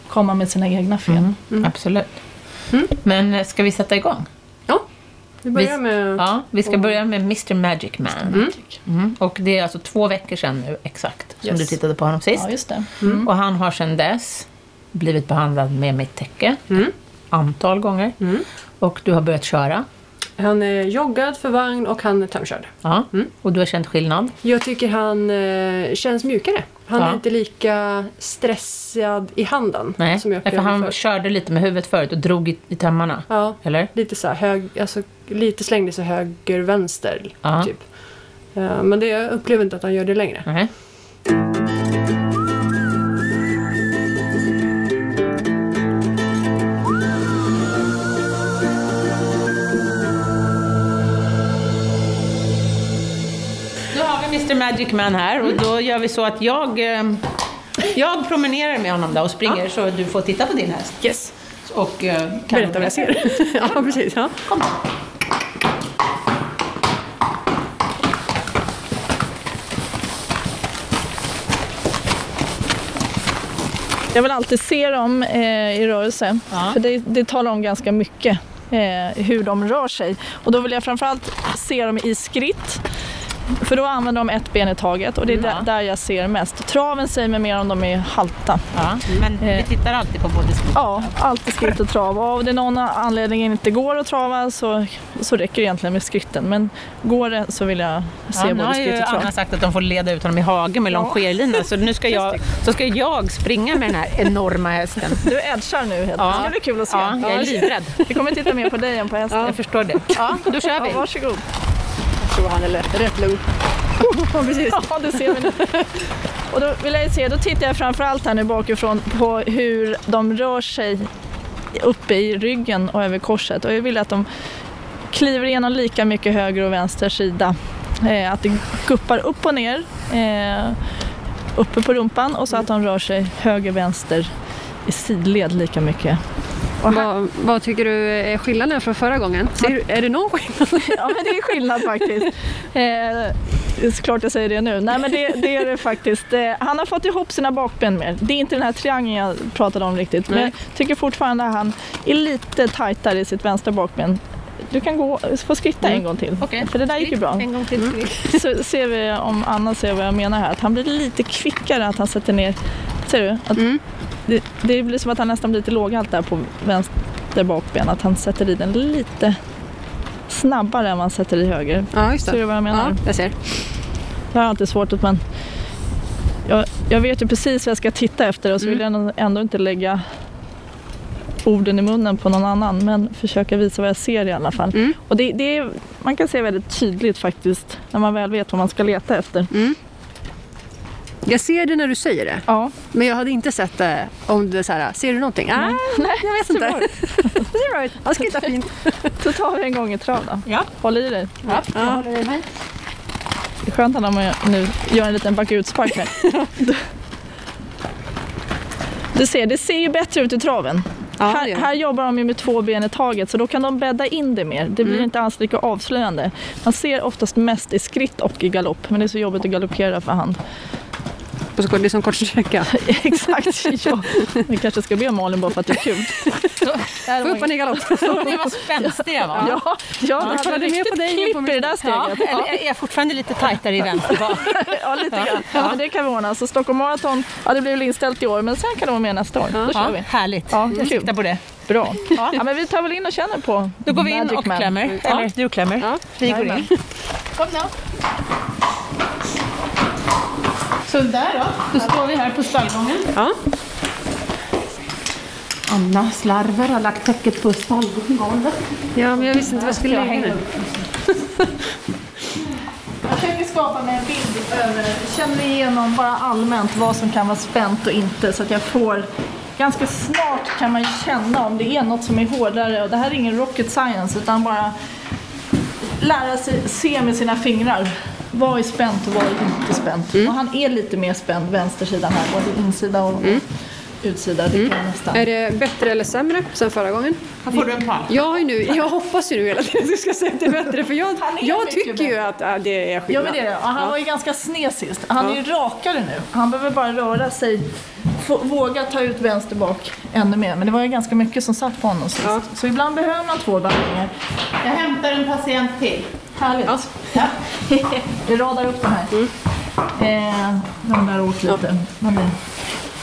Speaker 3: komma med sina egna fel.
Speaker 1: Mm.
Speaker 2: Mm.
Speaker 1: Absolut.
Speaker 2: Mm.
Speaker 1: Men eh, ska vi sätta igång?
Speaker 2: Vi börjar med...
Speaker 1: Ja, vi ska
Speaker 2: Och-
Speaker 1: börja med Mr Magic Man.
Speaker 2: Mm.
Speaker 1: Mm. Och det är alltså två veckor sedan nu exakt som
Speaker 2: Yes.
Speaker 1: du tittade på honom sist.
Speaker 3: Ja, just det.
Speaker 2: Mm.
Speaker 1: Och han har sedan dess blivit behandlad med mitt täcke
Speaker 2: Mm.
Speaker 1: antal gånger.
Speaker 2: Mm.
Speaker 1: Och du har börjat köra.
Speaker 2: Han är joggad för vagn och han är tömkörd.
Speaker 1: Ja.
Speaker 2: Mm.
Speaker 1: Och du har känt skillnad.
Speaker 2: Jag tycker han eh, känns mjukare. Han
Speaker 1: Ja.
Speaker 2: är inte lika stressad i handen.
Speaker 1: Nej,
Speaker 2: som jag
Speaker 1: för
Speaker 2: upplevde
Speaker 1: han
Speaker 2: förut.
Speaker 1: körde lite med huvudet förut och drog i, i tömmarna.
Speaker 2: Ja,
Speaker 1: Eller?
Speaker 2: lite så här hög, alltså lite slängde sig höger, vänster.
Speaker 1: Ja.
Speaker 2: Typ. Eh, men det, jag upplever inte att han gör det längre.
Speaker 1: Nej. Då har vi Mr Magic Man här och då gör vi så att jag, eh, jag promenerar med honom där och springer så du får titta på din häst.
Speaker 2: Yes.
Speaker 1: Och, eh, kan
Speaker 2: Berätta vad jag ser. ja, precis. Ja.
Speaker 1: Kom.
Speaker 3: Jag vill alltid se dem eh, i rörelse,
Speaker 1: Ja.
Speaker 3: för det, det talar om ganska mycket eh, hur de rör sig. Och då vill jag framförallt se dem i skritt, för då använder de ett ben i taget och det är
Speaker 1: Ja.
Speaker 3: där, där jag ser mest. Traven säger mig mer om de är halta.
Speaker 1: Ja, men vi
Speaker 3: Eh.
Speaker 1: tittar alltid på både skor.
Speaker 3: Ja, alltid skritt och trav. Och om det någon anledning inte går att trava så, så räcker det egentligen med skritten. Men går det så vill jag se
Speaker 1: Ja, nu
Speaker 3: både
Speaker 1: har ju
Speaker 3: skritt och trav.
Speaker 1: Anna sagt att de får leda ut honom i hagen med longerlina så nu ska jag, så ska jag springa med den här enorma hästen.
Speaker 3: Du edgar nu helt
Speaker 1: Ja.
Speaker 3: Det ska bli kul att se.
Speaker 1: Ja, jag är livrädd.
Speaker 3: Vi kommer titta mer på dig än på hästen.
Speaker 1: Jag förstår det. Ja, då kör
Speaker 3: Ja,
Speaker 1: vi.
Speaker 3: varsågod.
Speaker 2: Jag tror han är lätt- rätt lugn. ja, precis.
Speaker 3: Ja, det ser vi nu. Och då vill jag ju se, då tittar jag framförallt här nu bakifrån på hur de rör sig uppe i ryggen och över korset. Och jag vill att de kliver igenom lika mycket höger och vänster sida. Eh, att det guppar upp och ner, eh, uppe på rumpan och så att de rör sig höger, vänster i sidled lika mycket.
Speaker 4: Vad, vad tycker du är skillnaden från förra gången? Ser, är det någon skillnad?
Speaker 3: Ja men det är skillnad faktiskt. Eh, det är såklart jag säger det nu. Nej men det, det är det faktiskt. Eh, han har fått ihop sina bakben mer. Det är inte den här triangeln jag pratade om riktigt. Men
Speaker 4: Nej.
Speaker 3: jag tycker fortfarande att han är lite tajtare i sitt vänstra bakben. Du kan gå, få skritta en gång till.
Speaker 1: Okej.
Speaker 3: För det där gick ju bra.
Speaker 1: En gång till.
Speaker 3: Så ser vi om Anna ser vad jag menar här. Att han blir lite kvickare att han sätter ner. Ser du? Att
Speaker 4: Mm.
Speaker 3: det, det blir som att han nästan blir lite låghalt där på vänster bakben. Att han sätter i den lite snabbare än man sätter i höger.
Speaker 4: Ja, just
Speaker 3: Ser du
Speaker 4: det.
Speaker 3: vad jag menar?
Speaker 4: Ja, jag ser.
Speaker 3: Det här är alltid svårt att man... Jag, jag vet ju precis vad jag ska titta efter och så
Speaker 4: Mm.
Speaker 3: vill jag ändå inte lägga orden i munnen på någon annan men försöka visa vad jag ser i alla fall.
Speaker 4: Mm.
Speaker 3: Och det, det är, man kan se väldigt tydligt faktiskt när man väl vet vad man ska leta efter.
Speaker 4: Jag ser det när du säger det,
Speaker 3: Ja,
Speaker 4: men jag hade inte sett det om du så här, ser du någonting?
Speaker 2: Ah,
Speaker 4: Nej, nej jag vet inte. Ser ut. Han skrittar fint.
Speaker 3: så tar vi en gång i trav då.
Speaker 1: Ja.
Speaker 3: Håll i dig.
Speaker 1: Ja.
Speaker 4: Ja.
Speaker 3: Det är skönt när man nu gör en liten bakutspark med. Du ser, det ser ju bättre ut i traven.
Speaker 4: Ja, det
Speaker 3: här,
Speaker 4: gör det.
Speaker 3: här jobbar de ju med två ben i taget så då kan de bädda in det mer. Det blir inte alls lika avslöjande. Man ser oftast mest i skritt och i galopp men det är så jobbigt att galoppera för hand.
Speaker 4: Och så går det som kortsträcka.
Speaker 3: Exakt, ja. Vi kanske ska be Malin bara för att det är kul.
Speaker 4: Få upp honom i galopp.
Speaker 1: Det var spänstig jag var.
Speaker 3: Ja, ja det hade
Speaker 4: hade med
Speaker 3: riktigt
Speaker 4: på dig,
Speaker 3: klipp
Speaker 4: på
Speaker 3: i det där
Speaker 1: Ja,
Speaker 3: steget.
Speaker 1: eller är jag fortfarande lite tajtare i vänster bak?
Speaker 3: Ja, lite grann. Ja, men det kan vi ordna. Så Stockholm Marathon, ja det blev väl inställt i år men sen kan det vara med nästa år. Då kör
Speaker 1: Ja,
Speaker 3: vi.
Speaker 1: härligt.
Speaker 3: Ja,
Speaker 1: Jag
Speaker 3: kul.
Speaker 1: siktar på det.
Speaker 3: Bra. Ja. men vi tar väl in och känner på
Speaker 1: Då går vi in
Speaker 3: Magic
Speaker 1: och
Speaker 3: Man.
Speaker 1: klämmer.
Speaker 3: Ja.
Speaker 1: Eller du klämmer.
Speaker 4: Ja.
Speaker 1: Vi går in.
Speaker 3: Jajamän.
Speaker 1: Kom då. Så där då. Då står vi här på stallgången.
Speaker 4: Ja.
Speaker 1: Anna slarver har lagt täcket på stallgolvet.
Speaker 4: Ja, men jag visste inte vad jag skulle
Speaker 1: Jag
Speaker 4: lägga
Speaker 1: hänger
Speaker 4: den.
Speaker 1: upp.
Speaker 3: Jag försöker skapa mig en bild över, känner igenom bara allmänt vad som kan vara spänt och inte så att jag får Ganska snart kan man ju känna om det är något som är hårdare och det här är ingen rocket science utan bara lära sig se med sina fingrar. Vad är spänt och vad är inte spänt? Och han är lite mer spänd, vänstersidan här, både insida och utsida. Det kan jag nästan.
Speaker 4: Är det bättre eller sämre sen förra gången?
Speaker 1: Här får du en pall.
Speaker 4: Jag, har ju nu, jag hoppas ju nu hela tiden att du ska säga att det är bättre, för jag,
Speaker 3: Han är
Speaker 4: jag
Speaker 3: mycket
Speaker 4: tycker ju att äh, det är
Speaker 3: Ja
Speaker 4: skillnad.
Speaker 3: men det är det. Och han var ju ganska sned sist. Han är ju rakare nu. Han behöver bara röra sig. Få, våga ta ut vänster bak ännu mer. Men det var ju ganska mycket som satt på honom sist.
Speaker 4: Ja.
Speaker 3: Så ibland behöver man två behandlingar.
Speaker 1: Jag hämtar en patient till.
Speaker 3: Härligt. Ja. Vi radar upp det här. Eh, de där åt lite. Men det...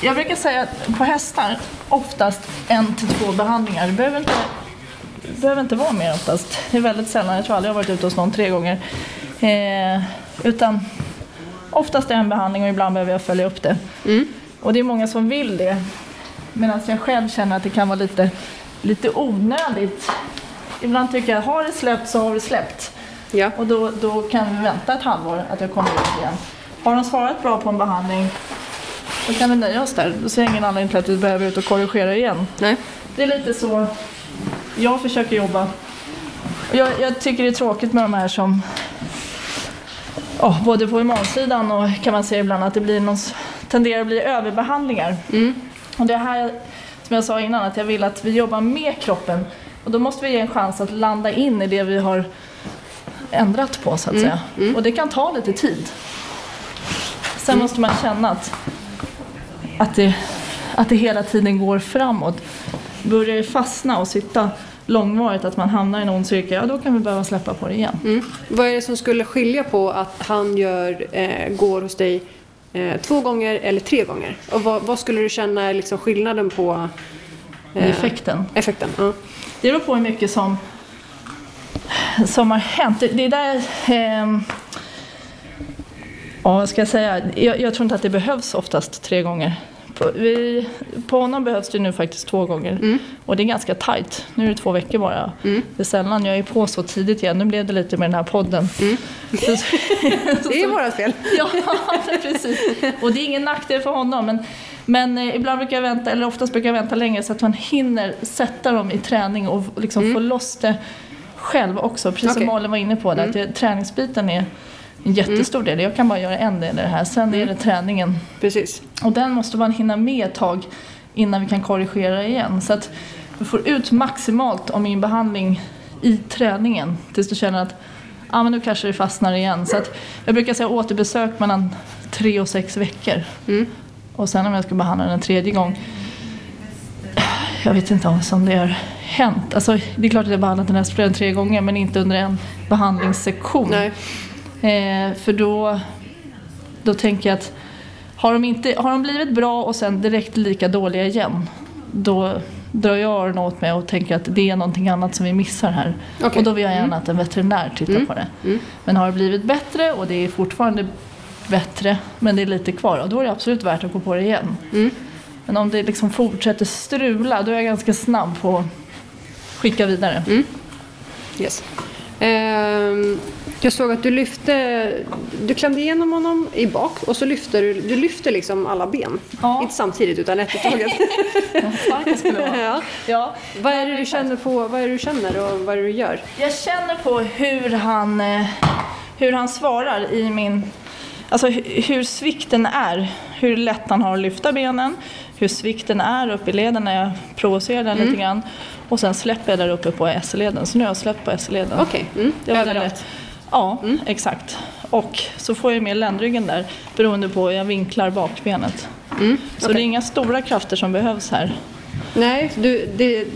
Speaker 3: Jag brukar säga att på hästar oftast en till två behandlingar. Det behöver inte, det behöver inte vara mer oftast. Det är väldigt sällan. Jag tror aldrig jag har varit ute hos någon tre gånger. Eh, utan oftast en behandling och ibland behöver jag följa upp det. Och det är många som vill det. Medan jag själv känner att det kan vara lite, lite onödigt. Ibland tycker jag, har det släppt så har det släppt.
Speaker 4: Ja.
Speaker 3: Och då, då kan vi vänta ett halvår att jag kommer ut igen. Har de svarat bra på en behandling, då kan vi nöja oss där. Då ser jag ingen anledning till att vi behöver ut och korrigera igen.
Speaker 4: Nej.
Speaker 3: Det är lite så jag försöker jobba. Och Jag, jag tycker det är tråkigt med de här som ja, både på humansidan och kan man säga ibland att det blir någon, s- tenderar att bli överbehandlingar. Och det här som jag sa innan att jag vill att vi jobbar med kroppen och då måste vi ge en chans att landa in i det vi har ändrat på så att säga. Och det kan ta lite tid. Sen måste man känna att, att, det, att det hela tiden går framåt. Börjar det fastna och sitta långvarigt att man hamnar i en ond cirkel, ja då kan vi behöva släppa på det igen.
Speaker 4: Mm. Vad är det som skulle skilja på att han gör, eh, går hos dig eh, två gånger eller tre gånger? Och vad, vad skulle du känna är liksom skillnaden på eh,
Speaker 3: Effekten.
Speaker 4: effekten? Ja.
Speaker 3: Det beror på hur mycket som, som har hänt. Det, det är där... ehm, ja, vad ska jag säga? Jag, jag tror inte att det behövs oftast tre gånger. På, vi, på honom behövs det nu faktiskt två gånger. Och det är ganska tajt. Nu är det två veckor bara. Det är sällan jag är på så tidigt igen. Nu blev det lite med den här podden. Så-
Speaker 4: Det är vårt fel.
Speaker 3: Ja, precis. Och det är ingen nackdel för honom. Men, men eh, ibland brukar jag vänta, eller oftast brukar jag vänta längre så att man hinner sätta dem i träning och liksom få loss det själv också. Precis som
Speaker 4: Okej.
Speaker 3: Malin var inne på, där, att det, träningsbiten är en jättestor del. Jag kan bara göra en del i det här, sen är det träningen.
Speaker 4: Precis.
Speaker 3: Och den måste man hinna med ett tag innan vi kan korrigera igen. Så att du får ut maximalt av min behandling i träningen tills du känner att ah, men nu kanske det fastnar igen. Så att jag brukar säga återbesök mellan tre och sex veckor. Och sen om jag ska behandla den en tredje gång jag vet inte om som det har hänt. Alltså, det är klart att jag behandlat den här spröden tre gånger men inte under en behandlingssektion.
Speaker 4: Nej.
Speaker 3: Eh, för då, då tänker jag att har de, inte, har de blivit bra och sen direkt lika dåliga igen, då drar jag öronen åt mig och tänker att det är någonting annat som vi missar här.
Speaker 4: Okej.
Speaker 3: Och då vill jag gärna att en veterinär tittar på det. Men har det blivit bättre och det är fortfarande bättre, men det är lite kvar, och då är det absolut värt att gå på det igen. Men om det liksom fortsätter strula, då är jag ganska snabb på att skicka vidare.
Speaker 4: Yes. Ehm, jag såg att du lyfte, du klämde igenom honom i bak och så lyfte du, du lyfte liksom alla ben.
Speaker 3: Ja.
Speaker 4: Inte samtidigt utan ett i taget.
Speaker 3: Vad stark jag skulle vara.
Speaker 4: ja.
Speaker 3: Ja.
Speaker 4: Vad är det du känner på, vad är det du känner och vad är det du gör?
Speaker 3: Jag känner på hur han, eh, hur han svarar i min... Alltså hu- hur svikten är, hur lätt han har att lyfta benen, hur svikten är uppe i leden när jag provocerar
Speaker 4: Mm.
Speaker 3: den lite grann. Och sen släpper jag där uppe på S-leden, så nu har jag släppt på S-leden.
Speaker 4: Okej, mm.
Speaker 3: Det var
Speaker 4: Överallt.
Speaker 3: det. Ja, exakt. Och så får jag med ländryggen där beroende på hur jag vinklar bakbenet.
Speaker 4: Mm,
Speaker 3: Så det är inga stora krafter som behövs här.
Speaker 4: Nej, du, det,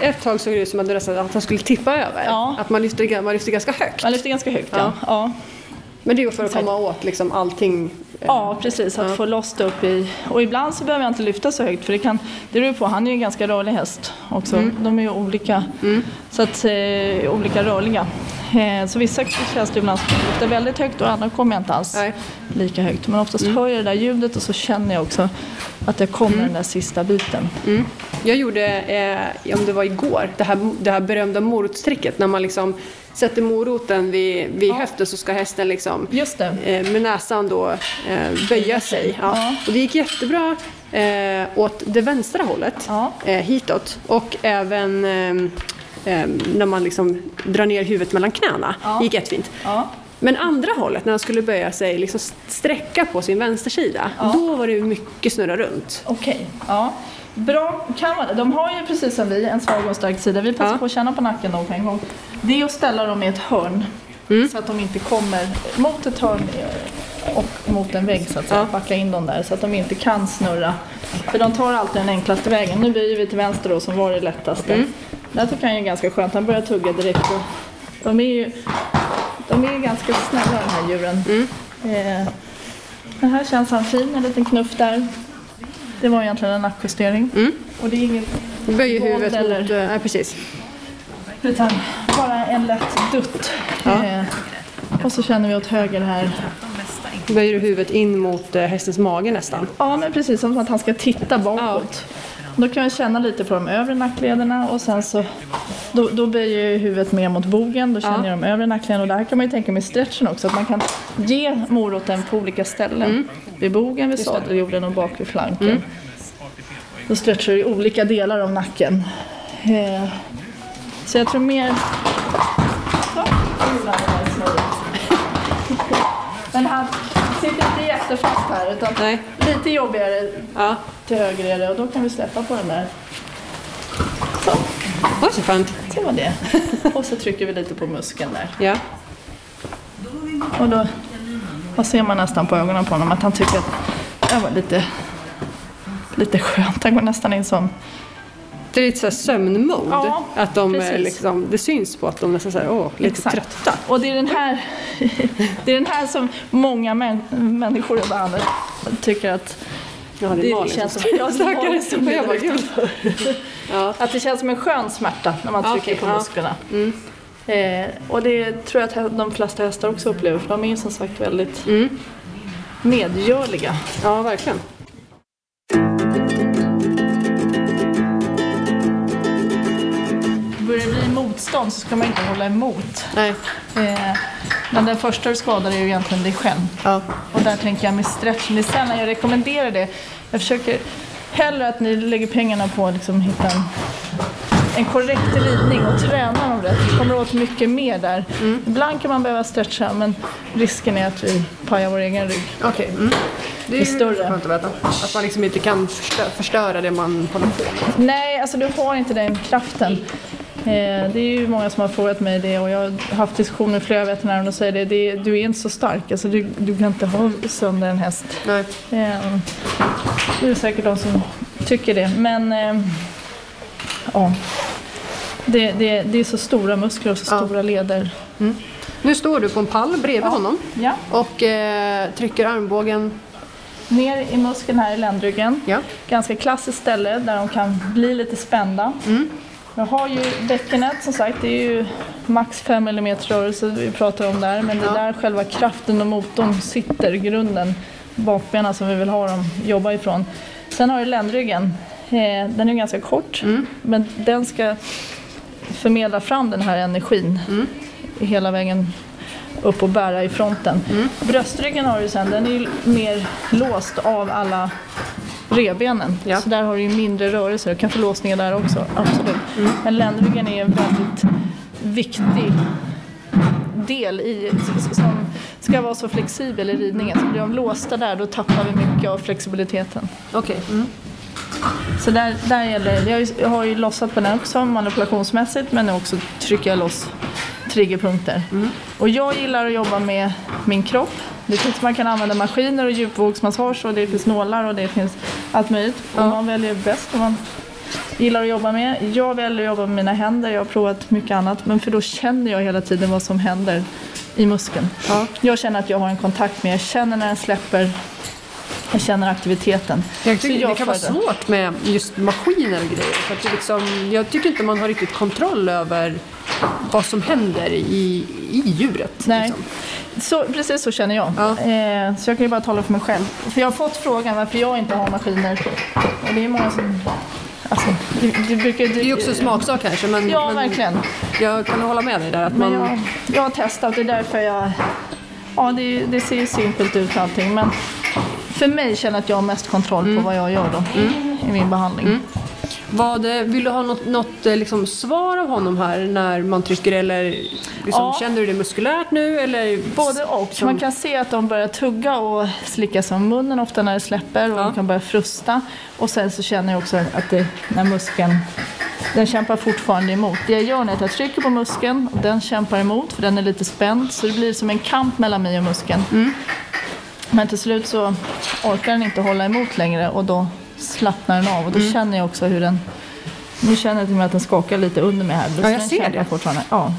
Speaker 4: ett tag såg det ut som att, du nästan, att han skulle tippa över.
Speaker 3: Ja.
Speaker 4: Att man lyfter, man lyfter ganska högt.
Speaker 3: Man lyfter ganska högt
Speaker 4: Ja.
Speaker 3: ja. ja.
Speaker 4: Men det är ju för att komma åt liksom allting.
Speaker 3: Ja, precis. Att
Speaker 4: Eh, Ja.
Speaker 3: få loss det upp i... Och ibland så behöver jag inte lyfta så högt för det kan... Det beror på, han är ju en ganska rörlig häst också.
Speaker 4: Mm.
Speaker 3: De är ju olika. Så att, eh, olika rörliga. Eh, så vissa känns det ibland som att jag lyfter väldigt högt och andra kommer jag inte alls
Speaker 4: Nej. Mm.
Speaker 3: lika högt. Men oftast hör jag det där ljudet och så känner jag också Att det kommer den där sista biten.
Speaker 4: Mm. Jag gjorde, eh, om det var igår, det här, det här berömda morotstricket när man liksom sätter moroten vid, vid höften så ska hästen liksom
Speaker 3: Just det.
Speaker 4: eh, med näsan då eh, böja sig. Ja.
Speaker 3: Ja.
Speaker 4: Och det gick jättebra eh, åt det vänstra hållet,
Speaker 3: Ja.
Speaker 4: eh, hitåt. Och även ehm, ehm, när man liksom drar ner huvudet mellan knäna.
Speaker 3: Ja.
Speaker 4: Det gick jättefint.
Speaker 3: Ja.
Speaker 4: Men andra hållet, när han skulle böja sig, liksom sträcka på sin vänstersida, då var det mycket snurra runt.
Speaker 3: Okej, ja. Bra, kan vara det. De har ju precis som vi en svag och en stark sida. Vi passar
Speaker 4: Ja.
Speaker 3: på att känna på nacken då på en gång. Det är att ställa dem i ett hörn. Så att de inte kommer mot ett hörn eh, och mot en vägg så att säga. Backa in dem där så att de inte kan snurra. För de tar alltid den enklaste vägen. Nu böjer vi till vänster då som var det lättaste. Det här tycker jag är ganska skönt. Han börjar tugga direkt. Och de är ju de är ju ganska snälla de här djuren. Eh, det här känns han fin, en liten knuff där. Det var egentligen en nackjustering. Och det är ingen
Speaker 4: Böjer
Speaker 3: Våld
Speaker 4: huvudet
Speaker 3: eller-
Speaker 4: mot... eh, Ja, precis.
Speaker 3: utan bara en lätt dutt. Eh, och så känner vi åt höger här.
Speaker 4: Böjer huvudet in mot eh, hästens mage nästan.
Speaker 3: Ja men precis, som att han ska titta bakåt. Då kan jag känna lite på de övre nacklederna och sen så då, då böjer jag huvudet mer mot bogen, då känner jag de övre nacklederna. Och det här kan man ju tänka med stretchen också, att man kan ge moroten på olika ställen. Vid bogen, vid sadelgjorden och bak vid flanken. Då stretchar du i olika delar av nacken. Eh, Så jag tror mer... Ja, nu ramlade jag i snöret. Men han sitter inte jättefast här utan
Speaker 4: Nej.
Speaker 3: lite jobbigare
Speaker 4: Ja.
Speaker 3: till höger är det och då kan vi släppa på den där. Så,
Speaker 4: Oj, så skönt.
Speaker 3: det var det. Och så trycker vi lite på muskeln där.
Speaker 4: Ja.
Speaker 3: Och då, då ser man nästan på ögonen på honom att han tycker att det var lite, lite skönt. Han går nästan in som
Speaker 4: Det är lite så här sömnmod.
Speaker 3: Ja,
Speaker 4: att de eh,
Speaker 3: precis.
Speaker 4: liksom, det syns på att de nästan så här, åh, lite
Speaker 3: Exakt.
Speaker 4: trötta.
Speaker 3: Och det är den här, det är den här som många män, människor i landet tycker att
Speaker 4: Ja, det är
Speaker 3: det
Speaker 4: Malin
Speaker 3: känns som,
Speaker 4: som
Speaker 3: Ja, det är Malin som
Speaker 4: Och jag bara,
Speaker 3: lider.
Speaker 4: gud. ja.
Speaker 3: att det känns som en skön smärta när man
Speaker 4: Ja,
Speaker 3: trycker
Speaker 4: okej,
Speaker 3: på
Speaker 4: ja.
Speaker 3: musklerna. Eh, och det tror jag att de flesta hästar också upplever för de är ju som sagt väldigt
Speaker 4: Mm.
Speaker 3: medgörliga.
Speaker 4: ja, verkligen.
Speaker 3: Börjar det bli motstånd så ska man inte hålla emot.
Speaker 4: Nej.
Speaker 3: Eh, men den första du skadar är ju egentligen dig själv.
Speaker 4: Ja.
Speaker 3: Och där tänker jag med stretchen. Det är sällan jag rekommenderar det. Jag försöker hellre att ni lägger pengarna på att liksom hitta en, en korrekt ridning och träna dem rätt. Vi kommer åt mycket mer där.
Speaker 4: Mm.
Speaker 3: Ibland kan man behöva stretcha men risken är att vi pajar vår egen rygg.
Speaker 4: Okej. Mm. Det är ju
Speaker 3: större.
Speaker 4: skönt att veta. Att man liksom inte kan förstö- förstöra det man håller på med.
Speaker 3: Nej, alltså du har inte den kraften. Eh, det är ju många som har frågat mig det och jag har haft diskussioner med flera veterinärer och de säger det, det du är inte så stark, alltså du, du kan inte ha sönder en häst.
Speaker 4: Nej.
Speaker 3: Eh, det är säkert de som tycker det, men eh, ja. Det, det, det är så stora muskler och så
Speaker 4: Ja.
Speaker 3: stora leder.
Speaker 4: Nu står du på en pall bredvid honom
Speaker 3: Ja,
Speaker 4: och eh, trycker armbågen.
Speaker 3: ner i muskeln här i ländryggen.
Speaker 4: Ja.
Speaker 3: ganska klassiskt ställe där de kan bli lite spända. Jag har ju bäckenet som sagt, det är ju max 5 mm rörelse vi pratar om där. Men det är där själva kraften och motorn sitter, grunden, bakbenen som vi vill ha dem jobba ifrån. Sen har du ländryggen. Eh, Den är ganska kort men den ska förmedla fram den här energin hela vägen upp och bära i fronten. Bröstryggen har du sen, den är ju mer låst av alla revbenen.
Speaker 4: Ja.
Speaker 3: Så där har du ju mindre rörelser. Du kan få låsningar där också, absolut. Men ländryggen är en väldigt viktig del i, som ska vara så flexibel i ridningen. Så blir de låsta där, då tappar vi mycket av flexibiliteten.
Speaker 4: Okej.
Speaker 3: Så där, där gäller det. Jag har ju- Jag har ju lossat på den också manipulationsmässigt men nu också trycker jag loss triggerpunkter.
Speaker 4: Mm.
Speaker 3: Och jag gillar att jobba med min kropp. Det finns, man kan använda maskiner och djupvågsmassage och det finns nålar och det finns allt möjligt. Och man väljer bäst vad man gillar att jobba med. Jag väljer att jobba med mina händer. Jag har provat mycket annat men för då känner jag hela tiden vad som händer i muskeln.
Speaker 4: Ja.
Speaker 3: Jag känner att jag har en kontakt med, jag känner när den släpper, jag känner aktiviteten.
Speaker 4: Jag tycker
Speaker 3: Så Alltså, jag
Speaker 4: det kan vara
Speaker 3: föredrar-
Speaker 4: svårt med just maskiner och grejer. För att det liksom, jag tycker inte man har riktigt kontroll över vad som händer i, i djuret.
Speaker 3: Nej.
Speaker 4: Liksom.
Speaker 3: Så, precis så känner jag.
Speaker 4: Ja.
Speaker 3: Eh, så jag kan ju bara tala för mig själv. För jag har fått frågan varför jag inte har maskiner. Och det är många som... Alltså, det, det brukar
Speaker 4: Det är ju också en smaksak kanske men,
Speaker 3: Ja,
Speaker 4: men
Speaker 3: verkligen.
Speaker 4: jag kan hålla med dig där att
Speaker 3: Men
Speaker 4: man...
Speaker 3: jag, jag har testat, det är därför jag... Ja, det, det ser ju simpelt ut allting, men för mig känner jag att jag har mest kontroll
Speaker 4: Mm.
Speaker 3: på vad jag gör då i min behandling.
Speaker 4: Vad, eh, vill du ha något, något eh, liksom, svar av honom här när man trycker eller liksom,
Speaker 3: Ja.
Speaker 4: känner du det muskulärt nu eller?
Speaker 3: Både och. Man kan se att de börjar tugga och slicka sig om munnen ofta när det släpper och de kan börja frusta. Och sen så känner jag också att det, när muskeln, den kämpar fortfarande emot. Det jag gör nu är att jag trycker på muskeln och den kämpar emot för den är lite spänd. Så det blir som en kamp mellan mig och muskeln.
Speaker 4: Mm.
Speaker 3: Men till slut så orkar den inte hålla emot längre och då slappnar den av. Och då
Speaker 4: Mm.
Speaker 3: känner jag också hur den... Nu känner jag till och med att den skakar lite under mig här. Så
Speaker 4: jag
Speaker 3: den
Speaker 4: ser
Speaker 3: kämpar
Speaker 4: det.
Speaker 3: Fortfarande. Ja.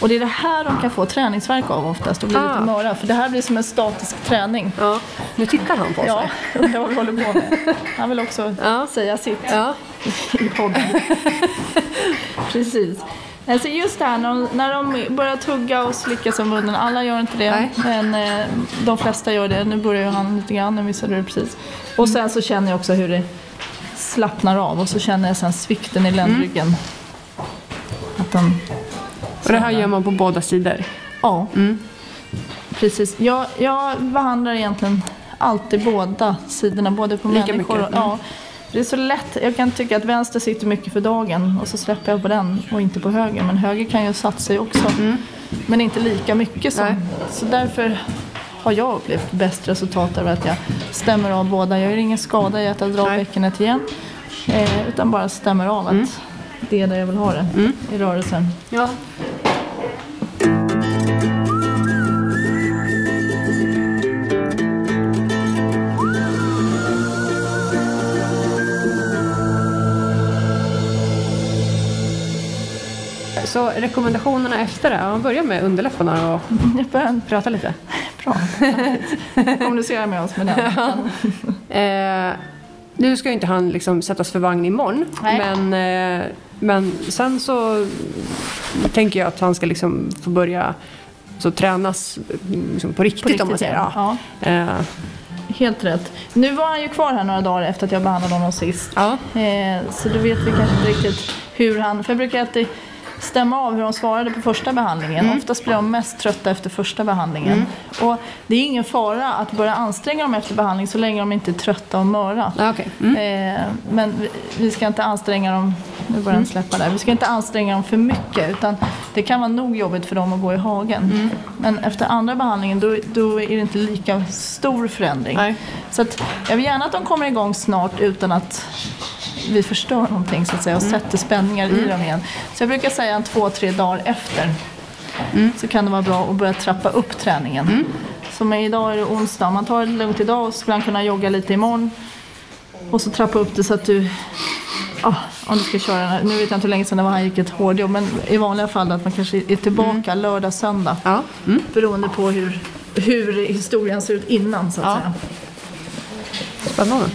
Speaker 3: Och det är det här de kan få träningsvärk av oftast och bli
Speaker 4: Ah.
Speaker 3: lite möra. För det här blir som en statisk träning.
Speaker 4: Ja. Nu tittar han på oss
Speaker 3: Ja,
Speaker 4: här.
Speaker 3: undrar vad vi håller på med. Han vill också
Speaker 4: Ja.
Speaker 3: säga sitt
Speaker 4: Ja.
Speaker 3: i podden. Precis. Alltså just det här när de, när de börjar tugga och slicka sig om munnen. Alla gör inte det,
Speaker 4: Nej.
Speaker 3: men eh, de flesta gör det. Nu börjar ju han lite grann, nu missade du det precis. Och sen så känner jag också hur det slappnar av och så känner jag sen svikten i ländryggen.
Speaker 4: Mm.
Speaker 3: Att de,
Speaker 4: Och det här gör man på båda sidor.
Speaker 3: ja.
Speaker 4: Mm.
Speaker 3: Precis. Jag, jag behandlar egentligen alltid båda sidorna, både på
Speaker 4: Lika
Speaker 3: människor
Speaker 4: mycket,
Speaker 3: och... Ja. Det är så lätt. Jag kan tycka att vänster sitter mycket för dagen och så släpper jag på den och inte på höger. Men höger kan ju satsa sig också. Men inte lika mycket som...
Speaker 4: Mm. Nej.
Speaker 3: Så därför har jag upplevt bäst resultat över att jag stämmer av båda. Jag gör ingen skada i att jag drar
Speaker 4: Nej. Mm.
Speaker 3: bäckenet igen. Eh, utan bara stämmer av att det är där jag vill ha det i rörelsen.
Speaker 4: Ja. Så rekommendationerna efter det, man börjar med underläpparna och
Speaker 3: Jag börjar
Speaker 4: prata lite.
Speaker 3: Bra. Kommunicera med oss med den.
Speaker 4: Eh, nu ska ju inte han liksom sättas för vagn imorgon.
Speaker 3: Nej.
Speaker 4: Men, eh, men sen så tänker jag att han ska liksom få börja så tränas mm, liksom på, riktigt, om man säger. Ja.
Speaker 3: ja.
Speaker 4: Eh,
Speaker 3: Helt rätt. Nu var han ju kvar här några dagar efter att jag behandlade honom sist.
Speaker 4: ja.
Speaker 3: Eh, så då vet vi kanske inte riktigt hur han... För jag brukar alltid stämma av hur de svarade på första behandlingen. Oftast blir de mest trötta efter första behandlingen. Och det är ingen fara att börja anstränga dem efter behandling så länge de inte är trötta och möra.
Speaker 4: Ah, okej. Mm. Mm.
Speaker 3: Eh, men vi, vi ska inte anstränga dem, nu börjar den släppa där, vi ska inte anstränga dem för mycket utan det kan vara nog jobbigt för dem att gå i hagen.
Speaker 4: Mm.
Speaker 3: Men efter andra behandlingen då, då är det inte lika stor förändring.
Speaker 4: Nej.
Speaker 3: Så att, jag vill gärna att de kommer igång snart utan att vi förstör någonting så att säga och
Speaker 4: Mm.
Speaker 3: sätter spänningar i dem igen. Så jag brukar säga en två, tre dagar efter
Speaker 4: Mm.
Speaker 3: så kan det vara bra att börja trappa upp träningen. Som är idag är det onsdag, man tar det lugnt idag och skulle kunna jogga lite imorgon. Och så trappa upp det så att du, ja, om du ska köra den här, nu vet jag inte hur länge sedan det var han gick ett hårdjobb, men i vanliga fall att man kanske är tillbaka lördag, söndag.
Speaker 4: Mm. Ja. Mm.
Speaker 3: Beroende på hur, hur historien ser ut innan så att
Speaker 4: Ja.
Speaker 3: säga.
Speaker 4: Spännande.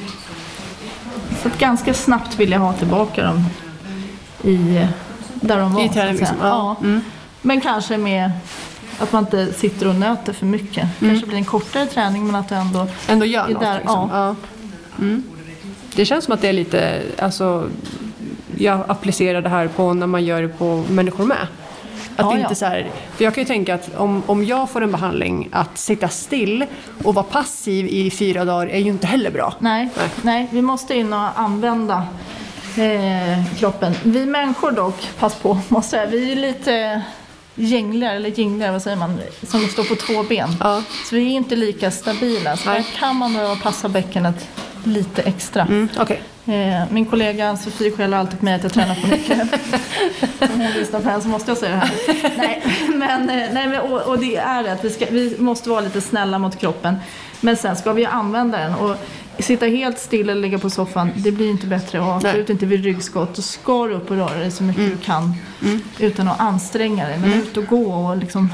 Speaker 3: Så att ganska snabbt vill jag ha tillbaka dem i, där de var.
Speaker 4: I
Speaker 3: så att
Speaker 4: träning,
Speaker 3: säga.
Speaker 4: liksom. Ja.
Speaker 3: Ja. Men kanske med att man inte sitter och nöter för mycket.
Speaker 4: Mm.
Speaker 3: Kanske blir en kortare träning men att du ändå...
Speaker 4: Ändå gör
Speaker 3: I
Speaker 4: något.
Speaker 3: där,
Speaker 4: liksom. ja. Mm. Det känns som att det är lite, alltså, jag applicerar det här på när man gör det på människor med. Att
Speaker 3: Ja, ja.
Speaker 4: inte så här, för jag kan ju tänka att om, om jag får en behandling, att sitta still och vara passiv i fyra dagar är ju inte heller bra.
Speaker 3: Nej,
Speaker 4: Nej.
Speaker 3: nej. vi måste in och använda eh, kroppen. Vi människor dock, pass på, måste jag säga, vi är ju lite gängligare, eller gängligare, vad säger man, som står på två ben.
Speaker 4: Ja.
Speaker 3: Så vi är inte lika stabila. Så
Speaker 4: Nej.
Speaker 3: där kan man behöva passa bäckenet lite extra.
Speaker 4: Mm, Okej.
Speaker 3: Eh, Min kollega Sofie skäller alltid på mig att jag tränar för mycket. Om hon lyssnar på det här så måste jag säga det här. Nej, men, eh, nej, men, och, och det är det att vi, ska, vi måste vara lite snälla mot kroppen. Men sen ska vi ju använda den. Och sitta helt still eller ligga på soffan, det blir inte bättre. Och absolut inte vid ryggskott. Då ska du upp och röra dig så mycket du kan. Utan att anstränga dig. Men ut och gå och liksom...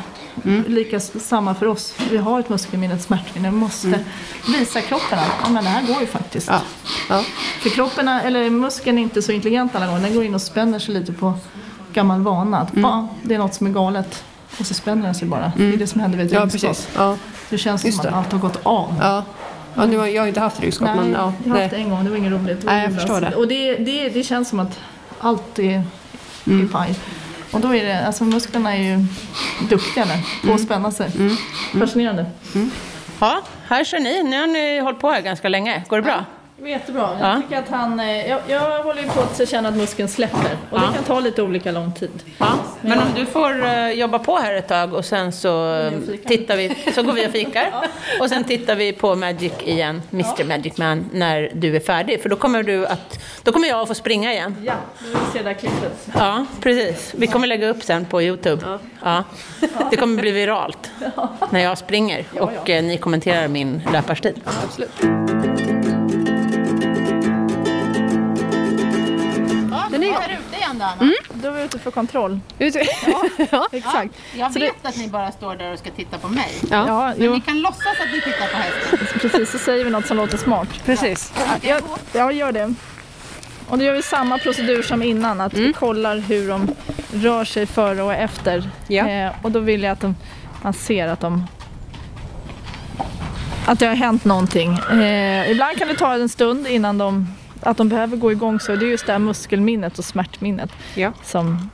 Speaker 3: Lika s- samma för oss. Vi har ett muskelminne, ett smärtminne. Vi måste visa kroppen att ja, men det här går ju faktiskt.
Speaker 4: Ja. Ja.
Speaker 3: För kroppen, är- eller muskeln är inte så
Speaker 4: Mm.
Speaker 3: intelligent alla gånger. Den går in och spänner sig lite på gammal vana. Att, "Ah, det är något som är galet. Och så spänner den sig bara. Det är det som händer vid ett
Speaker 4: Ja,
Speaker 3: ryggskott.
Speaker 4: precis. Ja.
Speaker 3: Det känns
Speaker 4: Just
Speaker 3: som att
Speaker 4: det.
Speaker 3: allt har gått av.
Speaker 4: Ja. Ja, nu har, jag har inte haft ryggskott,
Speaker 3: Nej,
Speaker 4: men ja.
Speaker 3: jag har haft det
Speaker 4: nej.
Speaker 3: en gång. Det var inget roligt. Det var
Speaker 4: Nej, jag
Speaker 3: illa.
Speaker 4: förstår det.
Speaker 3: Och det, det, det känns som att allt är,
Speaker 4: Mm.
Speaker 3: är paj. Och då är det, alltså musklerna är ju duktiga där på
Speaker 4: Mm.
Speaker 3: att spänna sig. Fascinerande.
Speaker 1: Ja, här kör ni. Nu har ni hållit på här ganska länge. Går det bra?
Speaker 3: Det var jättebra.
Speaker 1: Ja.
Speaker 3: Jag, tycker att han, eh, jag, jag håller ju på att känna att muskeln släpper. Och
Speaker 1: Ja.
Speaker 3: det kan ta lite olika lång tid.
Speaker 1: Ja. Men om du får eh, jobba på här ett tag och sen så, eh,
Speaker 3: vi och fikar.
Speaker 1: tittar vi, så går vi och fikar. Och sen tittar vi på Magic igen, Mr Magic Man, när du är färdig. För då kommer, du att, då kommer jag att få springa igen.
Speaker 3: Ja, nu vill vi se det där klippet.
Speaker 1: Ja, precis. Vi kommer lägga upp sen på Youtube. Ja. Det kommer bli viralt när jag springer och eh, ni kommenterar min löparstil.
Speaker 4: Absolut.
Speaker 5: Den är igång. Är ute igen då, Anna.
Speaker 1: Mm,
Speaker 3: Då var vi ute för kontroll.
Speaker 4: Ut-
Speaker 5: Exakt. Jag vet att ni bara står där och ska titta på mig.
Speaker 4: Ja.
Speaker 3: Ja,
Speaker 5: Men
Speaker 3: jo,
Speaker 5: ni kan låtsas att ni tittar på hästen.
Speaker 3: precis. Så säger vi något som låter smart.
Speaker 4: Precis.
Speaker 3: Jag, jag gör det. Och då gör vi samma procedur som innan, att
Speaker 4: Mm.
Speaker 3: vi kollar hur de rör sig före och efter.
Speaker 4: Ja.
Speaker 3: Eh, och då vill jag att de, man ser att de att det har hänt någonting. Eh, ibland kan det ta en stund innan de, att de behöver gå igång. Så det är just det här muskelminnet och smärtminnet
Speaker 4: Ja.
Speaker 3: som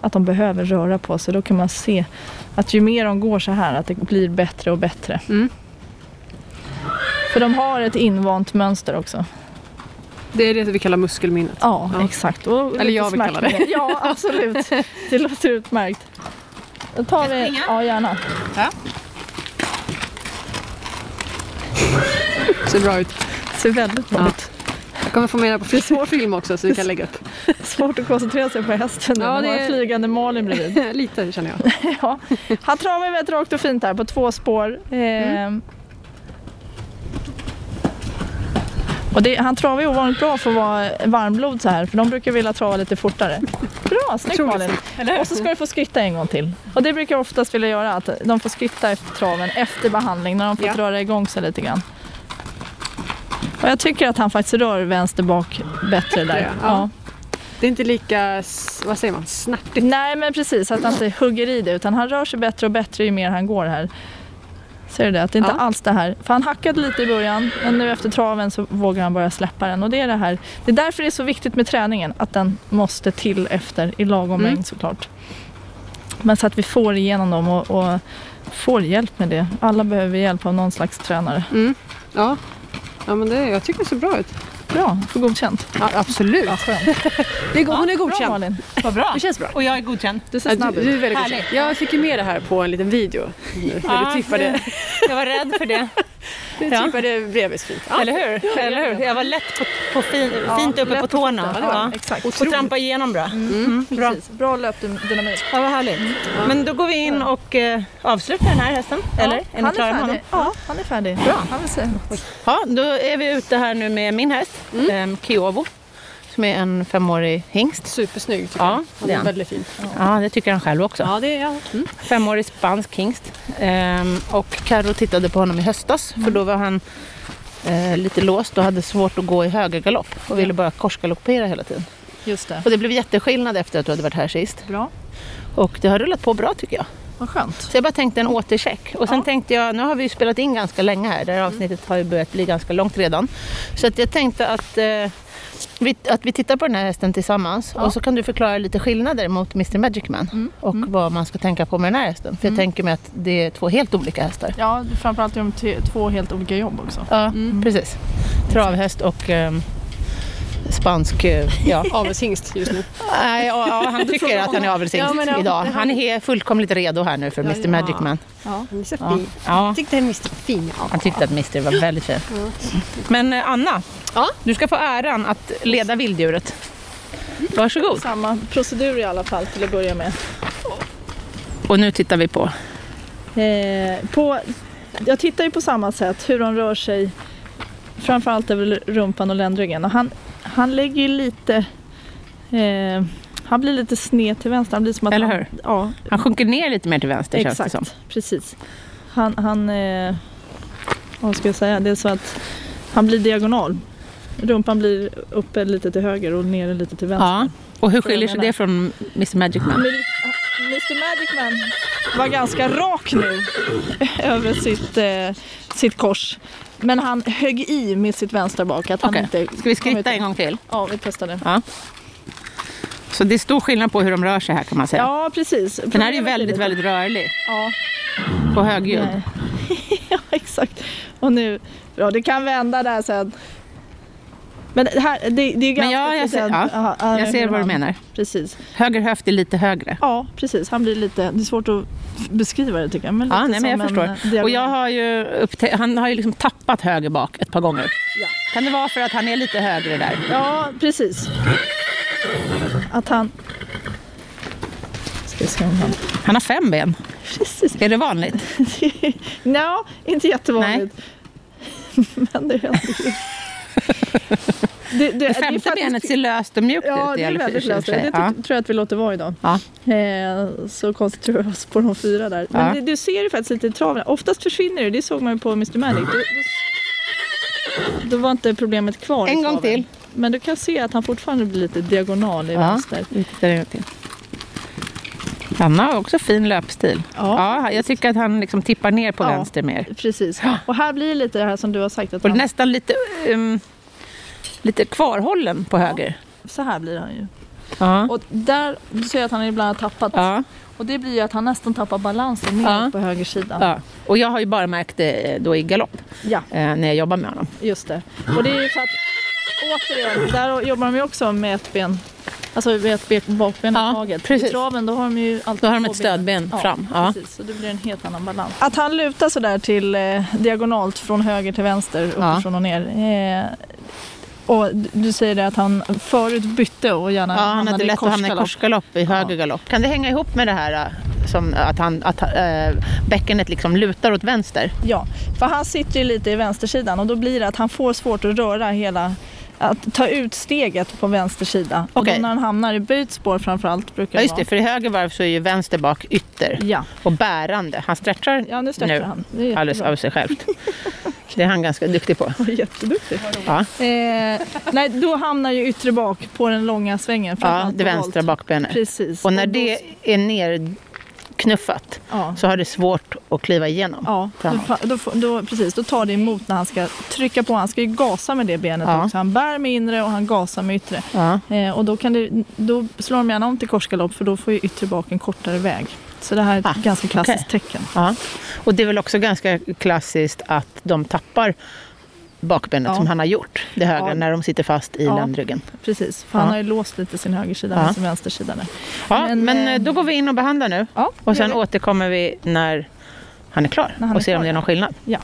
Speaker 3: att de behöver röra på sig. Då kan man se att ju mer de går så här, att det blir bättre och bättre. För de har ett invant mönster också.
Speaker 4: Det är det vi kallar muskelminnet.
Speaker 3: Ja,
Speaker 4: Ja.
Speaker 3: exakt. Och lite
Speaker 4: jag vill
Speaker 3: smärta
Speaker 4: kalla det.
Speaker 3: med. Ja, absolut. Det låter utmärkt. Då tar
Speaker 5: Ska jag
Speaker 3: vi...
Speaker 5: springa?
Speaker 3: Ja, gärna.
Speaker 4: Ser bra ut.
Speaker 3: Det ser väldigt bra
Speaker 4: Ja.
Speaker 3: ut.
Speaker 4: Jag kommer få med det på svår film också så vi kan lägga upp.
Speaker 3: Svårt att koncentrera sig på hästen nu
Speaker 4: Ja,
Speaker 3: när man
Speaker 4: det
Speaker 3: har
Speaker 4: är-
Speaker 3: en flygande Malin bredvid.
Speaker 4: Lite känner jag.
Speaker 3: Ja. Han travar väldigt rakt och fint här på två spår. Eh,
Speaker 4: Mm.
Speaker 3: Och det, han travar ju ovanligt bra för att vara varmblod så här, för de brukar vilja trava lite fortare. Bra, snyggt
Speaker 4: Otroligt
Speaker 3: Malin! Och så ska du få skritta en gång till. Och det brukar jag oftast vilja göra, att de får skritta efter traven, efter behandling, när de fått
Speaker 4: Ja.
Speaker 3: röra igång sig lite grann. Och jag tycker att han faktiskt rör vänster bak bättre där.
Speaker 4: Ja. Det är inte lika, s- vad säger man, snärtigt.
Speaker 3: Nej men precis, att han inte hugger i det utan han rör sig bättre och bättre ju mer han går här. Ser du det? Att det är inte
Speaker 4: Ja.
Speaker 3: alls det här. För han hackade lite i början men nu efter traven så vågar han börja släppa den. Och det är det här. Det är därför det är så viktigt med träningen. Att den måste till efter i lagom mängd såklart. Men så att vi får igenom dem och, och får hjälp med det. Alla behöver hjälp av någon slags tränare.
Speaker 4: Ja. Ja men det, jag tycker det ser bra ut.
Speaker 3: Bra, får godkänt.
Speaker 4: Ja, absolut.
Speaker 3: Vad skönt.
Speaker 4: Det är, go- hon är
Speaker 3: Bra
Speaker 4: godkänd.
Speaker 3: Malin.
Speaker 1: Vad bra.
Speaker 4: Det känns bra.
Speaker 1: Och jag är godkänd.
Speaker 3: Du ser
Speaker 4: Ja,
Speaker 3: snabb
Speaker 4: du, du
Speaker 3: ut.
Speaker 4: är väldigt godkänd.
Speaker 1: Härligt.
Speaker 4: Jag fick ju med det här på en liten video. När du tippade,
Speaker 1: Jag var rädd för det.
Speaker 4: du
Speaker 1: ja.
Speaker 4: tippade bredvid fint. Ja.
Speaker 1: Eller hur? Eller hur? Jag var lätt på, på fin, fint uppe på tårna. Ja.
Speaker 3: Exakt.
Speaker 1: Och trampa igenom bra. Mm, bra.
Speaker 3: Precis. Bra löpdynamik.
Speaker 1: Ja, vad härligt. Men då går vi in och eh, avslutar den här hästen. Eller?
Speaker 3: Ja,
Speaker 1: är ni klara med honom?
Speaker 3: Ja, han är färdig. Bra. Han vill säga något.
Speaker 1: Ja, då är vi ute här nu med min häst, mm. Kiovo. Som är en femårig hingst.
Speaker 4: Supersnygg tycker
Speaker 1: Ja,
Speaker 4: jag.
Speaker 1: det är
Speaker 4: Han är
Speaker 1: han.
Speaker 4: väldigt fin.
Speaker 1: Ja, det tycker han själv också.
Speaker 4: Ja, det är han. Mm.
Speaker 1: Femårig spansk hingst. Ehm, och Karo tittade på honom i höstas, för då var han eh, lite låst och hade svårt att gå i högergalopp och ville bara korsgaloppera hela tiden.
Speaker 3: Just det.
Speaker 1: Och det blev jätteskillnad efter att du hade varit här sist.
Speaker 3: Bra.
Speaker 1: Och det har rullat på bra tycker jag.
Speaker 3: Vad skönt.
Speaker 1: Så jag bara tänkte en återcheck. Och sen tänkte jag, nu har vi ju spelat in ganska länge här. Det här avsnittet har ju börjat bli ganska långt redan. Så att jag tänkte att, eh, vi, att vi tittar på den här hästen tillsammans. Och så kan du förklara lite skillnader mot Mr Magic Man. Och vad man ska tänka på med den här hästen. För jag tänker mig att det är två helt olika hästar.
Speaker 3: Ja, framförallt gör de t- två helt olika jobb också.
Speaker 1: Ja, Mm. precis. Travhäst och ehm, spansk... eh, Ja.
Speaker 4: Avelshingst just nu.
Speaker 1: Nej, ja, ja, han tycker att han är avelshingst
Speaker 4: Ja, men ja,
Speaker 1: idag.
Speaker 4: han-
Speaker 1: Han är he- fullkomligt redo här nu för Mr Magic Man.
Speaker 4: Han är så
Speaker 1: Ja.
Speaker 4: fin.
Speaker 1: Ja.
Speaker 4: Jag tyckte han är så fin. Ja.
Speaker 1: Han tyckte att Mister var väldigt fin. Men eh, Anna,
Speaker 4: Ja?
Speaker 1: du ska få äran att leda vilddjuret. Varsågod.
Speaker 3: Samma procedur i alla fall till att börja med.
Speaker 1: Och nu tittar vi på.
Speaker 3: Eh, på, jag tittar ju på samma sätt hur de rör sig. Framförallt över rumpan och ländryggen. Och han, han lägger ju lite... Eh, han blir lite sned till vänster. Han blir som att
Speaker 1: Eller
Speaker 3: han,
Speaker 1: hur?
Speaker 3: Ja,
Speaker 1: Han sjunker ner lite mer till vänster känns
Speaker 3: Exakt,
Speaker 1: det som.
Speaker 3: precis. Han, han eh, vad ska jag säga, det är så att han blir diagonal. Rumpan blir uppe lite till höger och nere lite till vänster.
Speaker 1: Ja. Och hur skiljer
Speaker 3: Jag
Speaker 1: sig
Speaker 3: menar.
Speaker 1: det från Mr Magic Man?
Speaker 3: Men Mr Magic Man var ganska rak nu över sitt, eh, sitt kors. Men han högg i med sitt vänstra bak. Att han
Speaker 5: Okej.
Speaker 3: inte
Speaker 5: Ska vi
Speaker 3: kom ut.
Speaker 5: skritta en gång till?
Speaker 3: Ja, vi testar det.
Speaker 5: Ja. Så det är stor skillnad på hur de rör sig här kan man säga.
Speaker 3: Ja, precis.
Speaker 5: Den här är ju väldigt, väldigt rörlig
Speaker 3: Ja,
Speaker 5: och högljudd.
Speaker 3: nej. ja, exakt. Och nu, ja det kan vända där sen. Men det här, det, det är ganska...
Speaker 5: Men ja, jag ser,
Speaker 3: precis-
Speaker 5: ja,
Speaker 3: ja,
Speaker 5: jag ser
Speaker 3: hur
Speaker 5: vad du
Speaker 3: han-
Speaker 5: menar.
Speaker 3: Precis.
Speaker 5: Höger höft är lite högre.
Speaker 3: Ja, precis. Han blir lite... Det är svårt att f- beskriva det tycker jag. Men
Speaker 5: Ja,
Speaker 3: lite
Speaker 5: nej, men jag
Speaker 3: som en,
Speaker 5: förstår.
Speaker 3: eh, diagonal.
Speaker 5: Och jag har ju upptä- han har ju liksom tappat höger bak ett par gånger.
Speaker 3: Ja.
Speaker 5: Kan det vara för att han är lite högre där?
Speaker 3: Ja, precis. Att han... Ska vi se om han...
Speaker 5: Han har fem ben.
Speaker 3: Precis.
Speaker 5: Är det vanligt?
Speaker 3: Nja, inte jättevanligt. Men det är väldigt... Det, det,
Speaker 5: Det femte
Speaker 3: faktiskt-
Speaker 5: benet ser löst och mjukt
Speaker 3: Ja,
Speaker 5: ut. i
Speaker 3: det är
Speaker 5: alla fall,
Speaker 3: väldigt
Speaker 5: i och
Speaker 3: löst.
Speaker 5: för
Speaker 3: Det
Speaker 5: sig.
Speaker 3: tyck-
Speaker 5: Ja.
Speaker 3: tror jag att vi låter vara idag.
Speaker 5: Ja.
Speaker 3: Eh, så koncentrerar vi oss på de fyra där. Men
Speaker 5: Ja.
Speaker 3: det, du ser ju faktiskt lite i traven. Oftast försvinner det, det såg man ju på Mr Manic. Då, då, då var inte problemet kvar i
Speaker 5: En gång
Speaker 3: traven.
Speaker 5: till.
Speaker 3: Men du kan se att han fortfarande blir lite diagonal i
Speaker 5: Ja,
Speaker 3: vänster.
Speaker 5: vi tittar
Speaker 3: Mm.
Speaker 5: en gång till. Han Mm. har också fin löpstil.
Speaker 3: Ja.
Speaker 5: Ja, jag tycker att han liksom tippar ner på
Speaker 3: Ja.
Speaker 5: vänster mer.
Speaker 3: Precis. Och här blir det lite det här som du har sagt. Att
Speaker 5: Och
Speaker 3: han,
Speaker 5: nästan lite, ehm, lite kvarhållen på höger.
Speaker 3: så här blir han ju.
Speaker 5: Ja.
Speaker 3: Och där du ser jag att han ibland har tappat.
Speaker 5: Ja.
Speaker 3: Och det blir ju att han nästan tappar balansen ner
Speaker 5: Ja.
Speaker 3: på höger sida.
Speaker 5: Ja. Och jag har ju bara märkt det eh, då i galopp
Speaker 3: ja,
Speaker 5: eh, när jag jobbar med honom.
Speaker 3: just det. Och det är ju för att återigen, där jobbar de ju också med ett ben. Alltså med ett ben, bakben
Speaker 5: Ja,
Speaker 3: i taget.
Speaker 5: precis.
Speaker 3: I traven då har de ju alltid
Speaker 5: Då har de
Speaker 3: två
Speaker 5: ett stödben
Speaker 3: ja,
Speaker 5: fram. Ja.
Speaker 3: Precis, så det blir en helt annan balans. Att han lutar sådär till eh, diagonalt från höger till vänster,
Speaker 5: Ja.
Speaker 3: uppifrån och ner. Eh, och d- du säger det att han förut bytte och gärna
Speaker 5: Ja, han hade
Speaker 3: i
Speaker 5: lätt att hamna i
Speaker 3: korsgalopp.
Speaker 5: korsgalopp i höger galopp. Kan det hänga ihop med det här eh, som att, han, att eh, bäckenet liksom lutar åt vänster?
Speaker 3: Ja, för han sitter ju lite i vänstersidan och då blir det att han får svårt att röra hela att ta ut steget på vänster sida. Och
Speaker 5: Okej.
Speaker 3: då när han hamnar i böjt spår framförallt brukar
Speaker 5: Ja, just det,
Speaker 3: vara.
Speaker 5: för i höger varv så är ju vänster bak ytter
Speaker 3: Ja.
Speaker 5: och bärande. Han stretchar
Speaker 3: ja, nu stretchar han. Det är jättebra.
Speaker 5: alldeles av sig självt. Det är han ganska duktig på.
Speaker 3: Jätteduktig.
Speaker 5: Ja,
Speaker 3: Eh, nej, då hamnar ju yttre bak på den långa svängen.
Speaker 5: ja
Speaker 3: framförallt
Speaker 5: det
Speaker 3: på
Speaker 5: vänstra
Speaker 3: volt.
Speaker 5: bakbenet.
Speaker 3: Precis.
Speaker 5: Och när
Speaker 3: då-
Speaker 5: det är nerknuffat
Speaker 3: Ja.
Speaker 5: så har det svårt att kliva igenom.
Speaker 3: Ja, då,
Speaker 5: framåt.
Speaker 3: fa- då, får- då, precis. Då tar det emot när han ska trycka på. Han ska ju gasa med det benet
Speaker 5: Ja.
Speaker 3: också. Han bär med inre och han gasar med yttre.
Speaker 5: Ja.
Speaker 3: Eh, och då, kan det, då slår de gärna om till korsgalopp för då får ju yttre bak en kortare väg. Så det här är ett
Speaker 5: Ah,
Speaker 3: ganska klassiskt tecken.
Speaker 5: Ja. Och det är väl också ganska klassiskt att de tappar bakbenet
Speaker 3: Ja.
Speaker 5: som han har gjort, det högra,
Speaker 3: Ja.
Speaker 5: när de sitter fast i
Speaker 3: Ja.
Speaker 5: ländryggen.
Speaker 3: Precis, för
Speaker 5: Ja.
Speaker 3: han har ju låst lite sin högersida
Speaker 5: Ja.
Speaker 3: med sin vänstersida nu.
Speaker 5: Ja, men,
Speaker 3: Men, eh,
Speaker 5: då går vi in och behandlar nu
Speaker 3: Ja,
Speaker 5: och sen
Speaker 3: gör vi.
Speaker 5: återkommer vi när han är klar
Speaker 3: När han
Speaker 5: och
Speaker 3: är
Speaker 5: ser om
Speaker 3: klar,
Speaker 5: det är någon skillnad.
Speaker 3: Ja.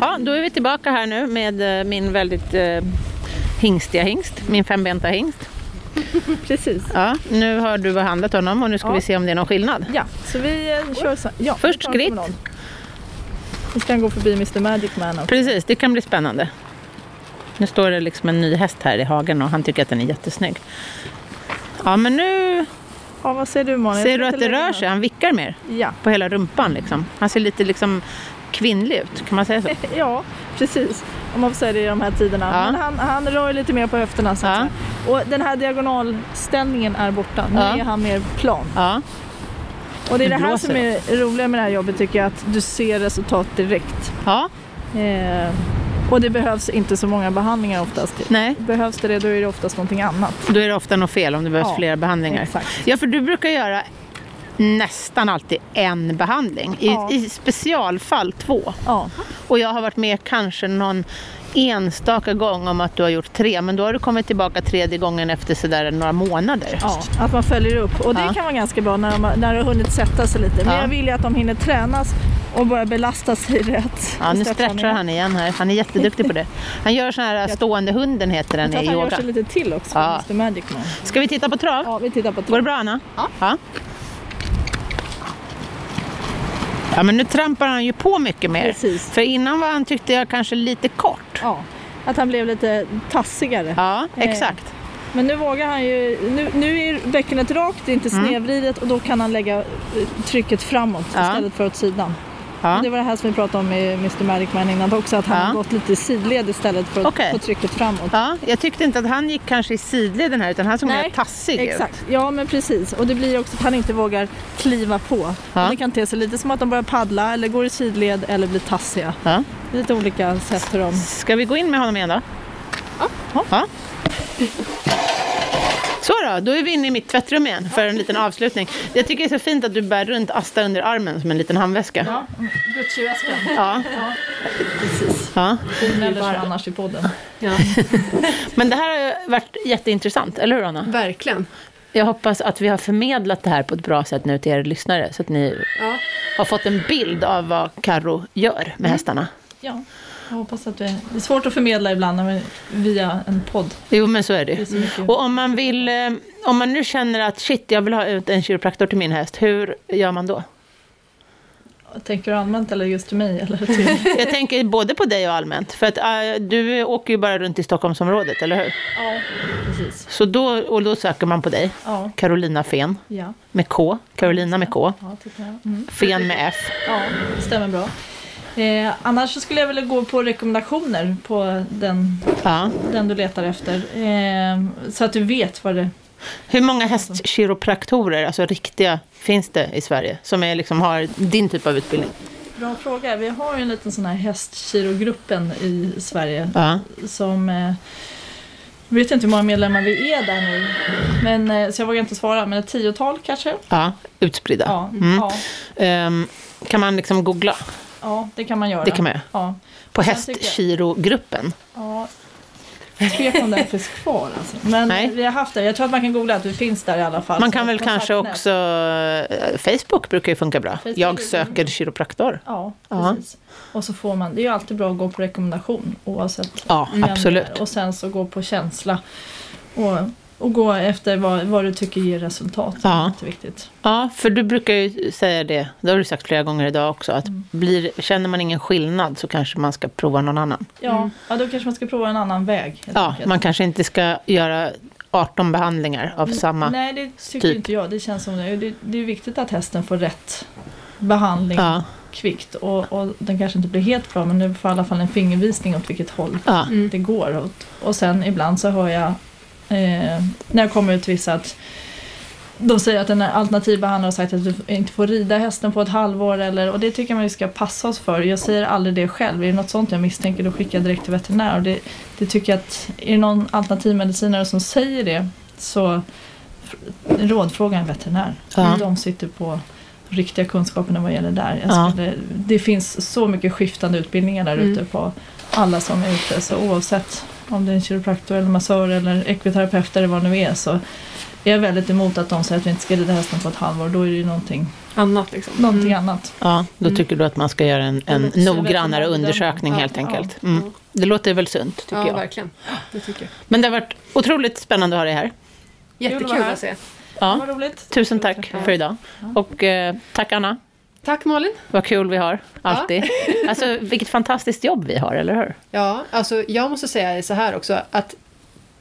Speaker 5: Ja, då är vi tillbaka här nu med eh, min väldigt eh, hingstiga hingst, min fembenta hingst.
Speaker 3: Precis.
Speaker 5: Ja, nu har du behandlat honom och nu ska
Speaker 3: Ja.
Speaker 5: vi se om det är någon skillnad.
Speaker 3: Ja, så vi eh, kör så. Ja,
Speaker 5: Först
Speaker 3: vi tar en
Speaker 5: skritt.
Speaker 3: promenad. Nu ska han gå förbi Mr Magic Man också.
Speaker 5: Precis, det kan bli spännande. Nu står det liksom en ny häst här i hagen och han tycker att den är jättesnygg. Ja, men nu
Speaker 3: Ja, vad säger du Malin? Jag
Speaker 5: ser
Speaker 3: ska
Speaker 5: du
Speaker 3: inte
Speaker 5: att det
Speaker 3: lägga
Speaker 5: rör
Speaker 3: mig.
Speaker 5: sig. Han vickar mer
Speaker 3: Ja.
Speaker 5: på hela rumpan liksom. Han ser lite liksom kvinnlig ut, kan man säga så?
Speaker 3: Ja, precis. Om man får säga det i de här tiderna.
Speaker 5: Ja.
Speaker 3: Men han, han rör ju lite mer på höfterna. Så att
Speaker 5: Ja.
Speaker 3: säga. Och den här diagonalställningen är borta. Nu
Speaker 5: Ja.
Speaker 3: är han mer plan.
Speaker 5: Ja,
Speaker 3: Och det är
Speaker 5: Det
Speaker 3: det här
Speaker 5: blåser
Speaker 3: som är roliga med det här jobbet tycker jag. Att du ser resultat direkt.
Speaker 5: ja
Speaker 3: Eh, och det behövs inte så många behandlingar oftast.
Speaker 5: nej.
Speaker 3: Behövs det det då är det oftast någonting annat.
Speaker 5: Då är det ofta något fel om det behövs
Speaker 3: Ja,
Speaker 5: flera behandlingar.
Speaker 3: exakt.
Speaker 5: Ja, för du brukar göra nästan alltid en behandling. I,
Speaker 3: Ja.
Speaker 5: i specialfall två.
Speaker 3: Ja,
Speaker 5: Och jag har varit med kanske någon enstaka gång om att du har gjort tre, men då har du kommit tillbaka tredje gången efter sådär några månader.
Speaker 3: ja. Att man följer upp. Och det
Speaker 5: Ja.
Speaker 3: kan vara ganska bra när de, har- när det har hunnit sätta sig lite. Men
Speaker 5: Ja.
Speaker 3: jag vill ju att de hinner tränas och börja belasta sig rätt.
Speaker 5: Ja, nu
Speaker 3: Istället för att
Speaker 5: stretchar han igen här. Han är jätteduktig på det. Han gör sån här stående hunden heter
Speaker 3: Jag
Speaker 5: den
Speaker 3: tror
Speaker 5: i
Speaker 3: att han gör
Speaker 5: yoga.
Speaker 3: sig lite till också,
Speaker 5: Ja.
Speaker 3: Mr Magic Man.
Speaker 5: Ska vi titta på trav?
Speaker 3: Ja, vi tittar på
Speaker 5: Går det
Speaker 3: trav.
Speaker 5: bra Anna?
Speaker 6: Ja.
Speaker 5: ja. Ja, men nu trampar han ju på mycket mer.
Speaker 3: Precis.
Speaker 5: För innan var han tyckte jag kanske lite kort.
Speaker 3: Ja, att han blev lite tassigare.
Speaker 5: Ja,
Speaker 3: Eh,
Speaker 5: exakt.
Speaker 3: Men nu vågar han ju, nu, nu är bäckenet
Speaker 5: Mm.
Speaker 3: rakt, det är inte snedvridet och då kan han lägga eh, trycket framåt
Speaker 5: Ja.
Speaker 3: istället för åt sidan.
Speaker 5: Ja.
Speaker 3: Det var det här som vi pratade om i Mr. Marikman innan också, att han
Speaker 5: Ja.
Speaker 3: har gått lite i sidled istället för att
Speaker 5: Okej.
Speaker 3: få trycket framåt.
Speaker 5: Ja, jag tyckte inte att han gick kanske i sidled den här utan han såg
Speaker 3: Nej,
Speaker 5: mer tassig ut.
Speaker 3: Exakt, ja men precis. Och det blir också att han inte vågar kliva på.
Speaker 5: Ja.
Speaker 3: Och Det kan te sig lite som att de börjar paddla eller går i sidled eller blir tassiga.
Speaker 5: Ja.
Speaker 3: Lite olika sätt hur de...
Speaker 5: Ska vi gå in med honom igen då? Ja. Så då, då är vi inne i mitt tvättrum igen för en liten avslutning. Jag tycker det är så fint att du bär runt Asta under armen som en liten handväska. Ja, Gucci-väskan. Ja. precis. Ja.
Speaker 3: Eller annars i podden.
Speaker 5: Men det här har ju varit jätteintressant, eller hur Anna?
Speaker 4: Verkligen.
Speaker 5: Jag hoppas att vi har förmedlat det här på ett bra sätt nu till er lyssnare så att ni
Speaker 4: Ja.
Speaker 5: har fått en bild av vad Karo gör med hästarna.
Speaker 3: Ja, jag hoppas att vi... Det är svårt att förmedla ibland när vi, via en podd.
Speaker 5: Jo, men så är det ju.
Speaker 3: är så mycket.
Speaker 5: Och om man, vill, eh, om man nu känner att shit, jag vill ha ut en kiropraktor till min häst, hur gör man då?
Speaker 3: Tänker du allmänt eller just till mig? Eller till...
Speaker 5: Jag tänker både på dig och allmänt, för att eh, du åker ju bara runt i Stockholmsområdet, eller hur?
Speaker 3: ja, precis.
Speaker 5: Så då, och då söker man på dig,
Speaker 3: Ja,
Speaker 5: Carolina Fen,
Speaker 3: ja.
Speaker 5: med K, Carolina med K,
Speaker 3: ja tycker jag. Mm.
Speaker 5: Fen med F.
Speaker 3: Ja, det stämmer bra. Eh, annars så skulle jag vilja gå på rekommendationer på den,
Speaker 5: Ja.
Speaker 3: den du letar efter. Eh, så att du vet vad det
Speaker 5: Hur många hästkiropraktorer, alltså riktiga, finns det i Sverige som är, liksom, har din typ av utbildning?
Speaker 3: Bra fråga. Vi har ju en liten sån här hästkirogruppen i Sverige
Speaker 5: Ja.
Speaker 3: som... eh, Jag vet inte hur många medlemmar vi är där nu. Men, eh, så jag vågar inte svara, men ett tiotal kanske?
Speaker 5: ja utspridda.
Speaker 3: Ja,
Speaker 5: Mm.
Speaker 3: ja,
Speaker 5: Ehm, kan man liksom googla?
Speaker 3: ja, det kan man göra.
Speaker 5: Det kan man göra.
Speaker 3: Ja,
Speaker 5: På
Speaker 3: Jag tycker-
Speaker 5: hästkirogruppen.
Speaker 3: ja. Tvek om den finns kvar alltså. Men
Speaker 5: Nej.
Speaker 3: vi har haft det. Jag tror att man kan googla att du finns där i alla fall.
Speaker 5: Man
Speaker 3: Så
Speaker 5: kan väl
Speaker 3: kontaktnät.
Speaker 5: kanske också... eh, Facebook brukar ju funka bra.
Speaker 3: Facebook,
Speaker 5: Jag
Speaker 3: mm.
Speaker 5: söker kiropraktor.
Speaker 3: Ja,
Speaker 5: Ja.
Speaker 3: precis. Och så får man, det är ju alltid bra att gå på rekommendation oavsett
Speaker 5: Ja,
Speaker 3: vem det är.
Speaker 5: absolut.
Speaker 3: Och sen så gå på känsla. Och, och gå efter vad, vad du tycker ger resultat.
Speaker 5: Ja.
Speaker 3: Det är jätteviktigt.
Speaker 5: Ja, för du brukar ju säga det, det har du sagt flera gånger idag också, att blir, känner man ingen skillnad så kanske man ska prova någon annan.
Speaker 3: Ja, ja, då kanske man ska prova en annan väg. helt
Speaker 5: Mm. Ja,
Speaker 3: enkelt.
Speaker 5: man kanske inte ska göra 18 behandlingar av samma...
Speaker 3: Mm. Nej, det tycker
Speaker 5: typ.
Speaker 3: inte jag. Det känns som det. Det, det är viktigt att hästen får rätt behandling
Speaker 5: Ja,
Speaker 3: kvickt. Och, och den kanske inte blir helt bra, men du får i alla fall en fingervisning åt vilket håll
Speaker 5: ja.
Speaker 3: det går åt. Och sen ibland så hör jag eh, när jag kommer ut till vissa att de säger att en alternativ behandlare har sagt att du inte får rida hästen på ett halvår eller, och det tycker man ju ska passa oss för. Jag säger aldrig det själv. Är det något sånt jag misstänker då skickar jag direkt till veterinär. Och det, det tycker jag att, är det någon alternativmedicinare som säger det så f- rådfråga en veterinär.
Speaker 5: Ja.
Speaker 3: De sitter på riktiga kunskaperna vad gäller där.
Speaker 5: Ja.
Speaker 3: Jag skulle, Det finns så mycket skiftande utbildningar
Speaker 4: Mm.
Speaker 3: där ute på alla som är ute. Så oavsett om det är en kiropraktor eller massör eller ekviterapeut eller vad det nu är så är jag väldigt emot att de säger att vi inte ska rida hästen på ett halvår. Då är det ju någonting,
Speaker 4: Annat liksom.
Speaker 3: någonting annat.
Speaker 5: Ja, då tycker du att man ska göra en, en
Speaker 3: låter som
Speaker 5: noggrannare
Speaker 3: en veterinär.
Speaker 5: undersökning
Speaker 3: Ja,
Speaker 5: helt
Speaker 3: ja,
Speaker 5: enkelt. Mm. Det låter väl sunt, tycker
Speaker 4: Ja,
Speaker 5: jag.
Speaker 4: verkligen. Det tycker jag.
Speaker 5: Men det har varit otroligt spännande att ha dig här.
Speaker 3: Kul att
Speaker 4: Jättekul
Speaker 3: vara
Speaker 4: att se.
Speaker 5: Ja,
Speaker 3: Vad roligt.
Speaker 5: tusen tack för idag. Och eh, tack Anna,
Speaker 4: Tack Malin.
Speaker 5: vad kul vi har,
Speaker 4: Ja.
Speaker 5: alltid. Alltså vilket fantastiskt jobb vi har, eller hur?
Speaker 4: Ja, alltså jag måste säga så här också att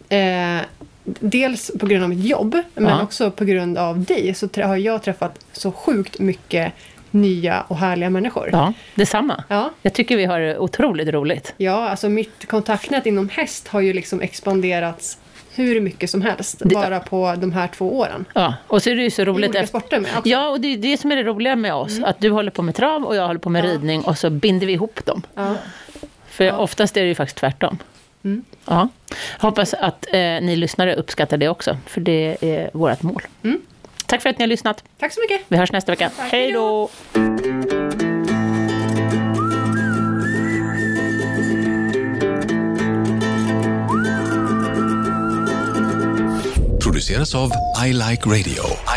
Speaker 4: eh, dels på grund av mitt jobb, men
Speaker 5: Ja.
Speaker 4: också på grund av dig så trä- har jag träffat så sjukt mycket nya och härliga människor.
Speaker 5: Ja, detsamma.
Speaker 4: Ja.
Speaker 5: Jag tycker vi har det otroligt roligt.
Speaker 4: Ja, alltså mitt kontaktnät inom häst har ju liksom expanderats hur mycket som helst
Speaker 5: Det-
Speaker 4: bara på de här två åren.
Speaker 5: Ja, och så är det ju så
Speaker 4: I
Speaker 5: roligt
Speaker 4: olika
Speaker 5: efter...
Speaker 4: sporter med också.
Speaker 5: Ja, och det är det som är det roliga med oss,
Speaker 4: Mm.
Speaker 5: att du håller på med trav och jag håller på med ridning och så binder vi ihop dem.
Speaker 4: Ja.
Speaker 5: För oftast är det ju faktiskt tvärtom.
Speaker 4: Mm.
Speaker 5: Ja. Hoppas att eh, ni lyssnare uppskattar det också, för det är vårt mål.
Speaker 4: Mm.
Speaker 5: Tack för att ni har lyssnat.
Speaker 4: Tack så mycket!
Speaker 5: Vi hörs nästa vecka. Hej då!
Speaker 7: produceras av I Like Radio.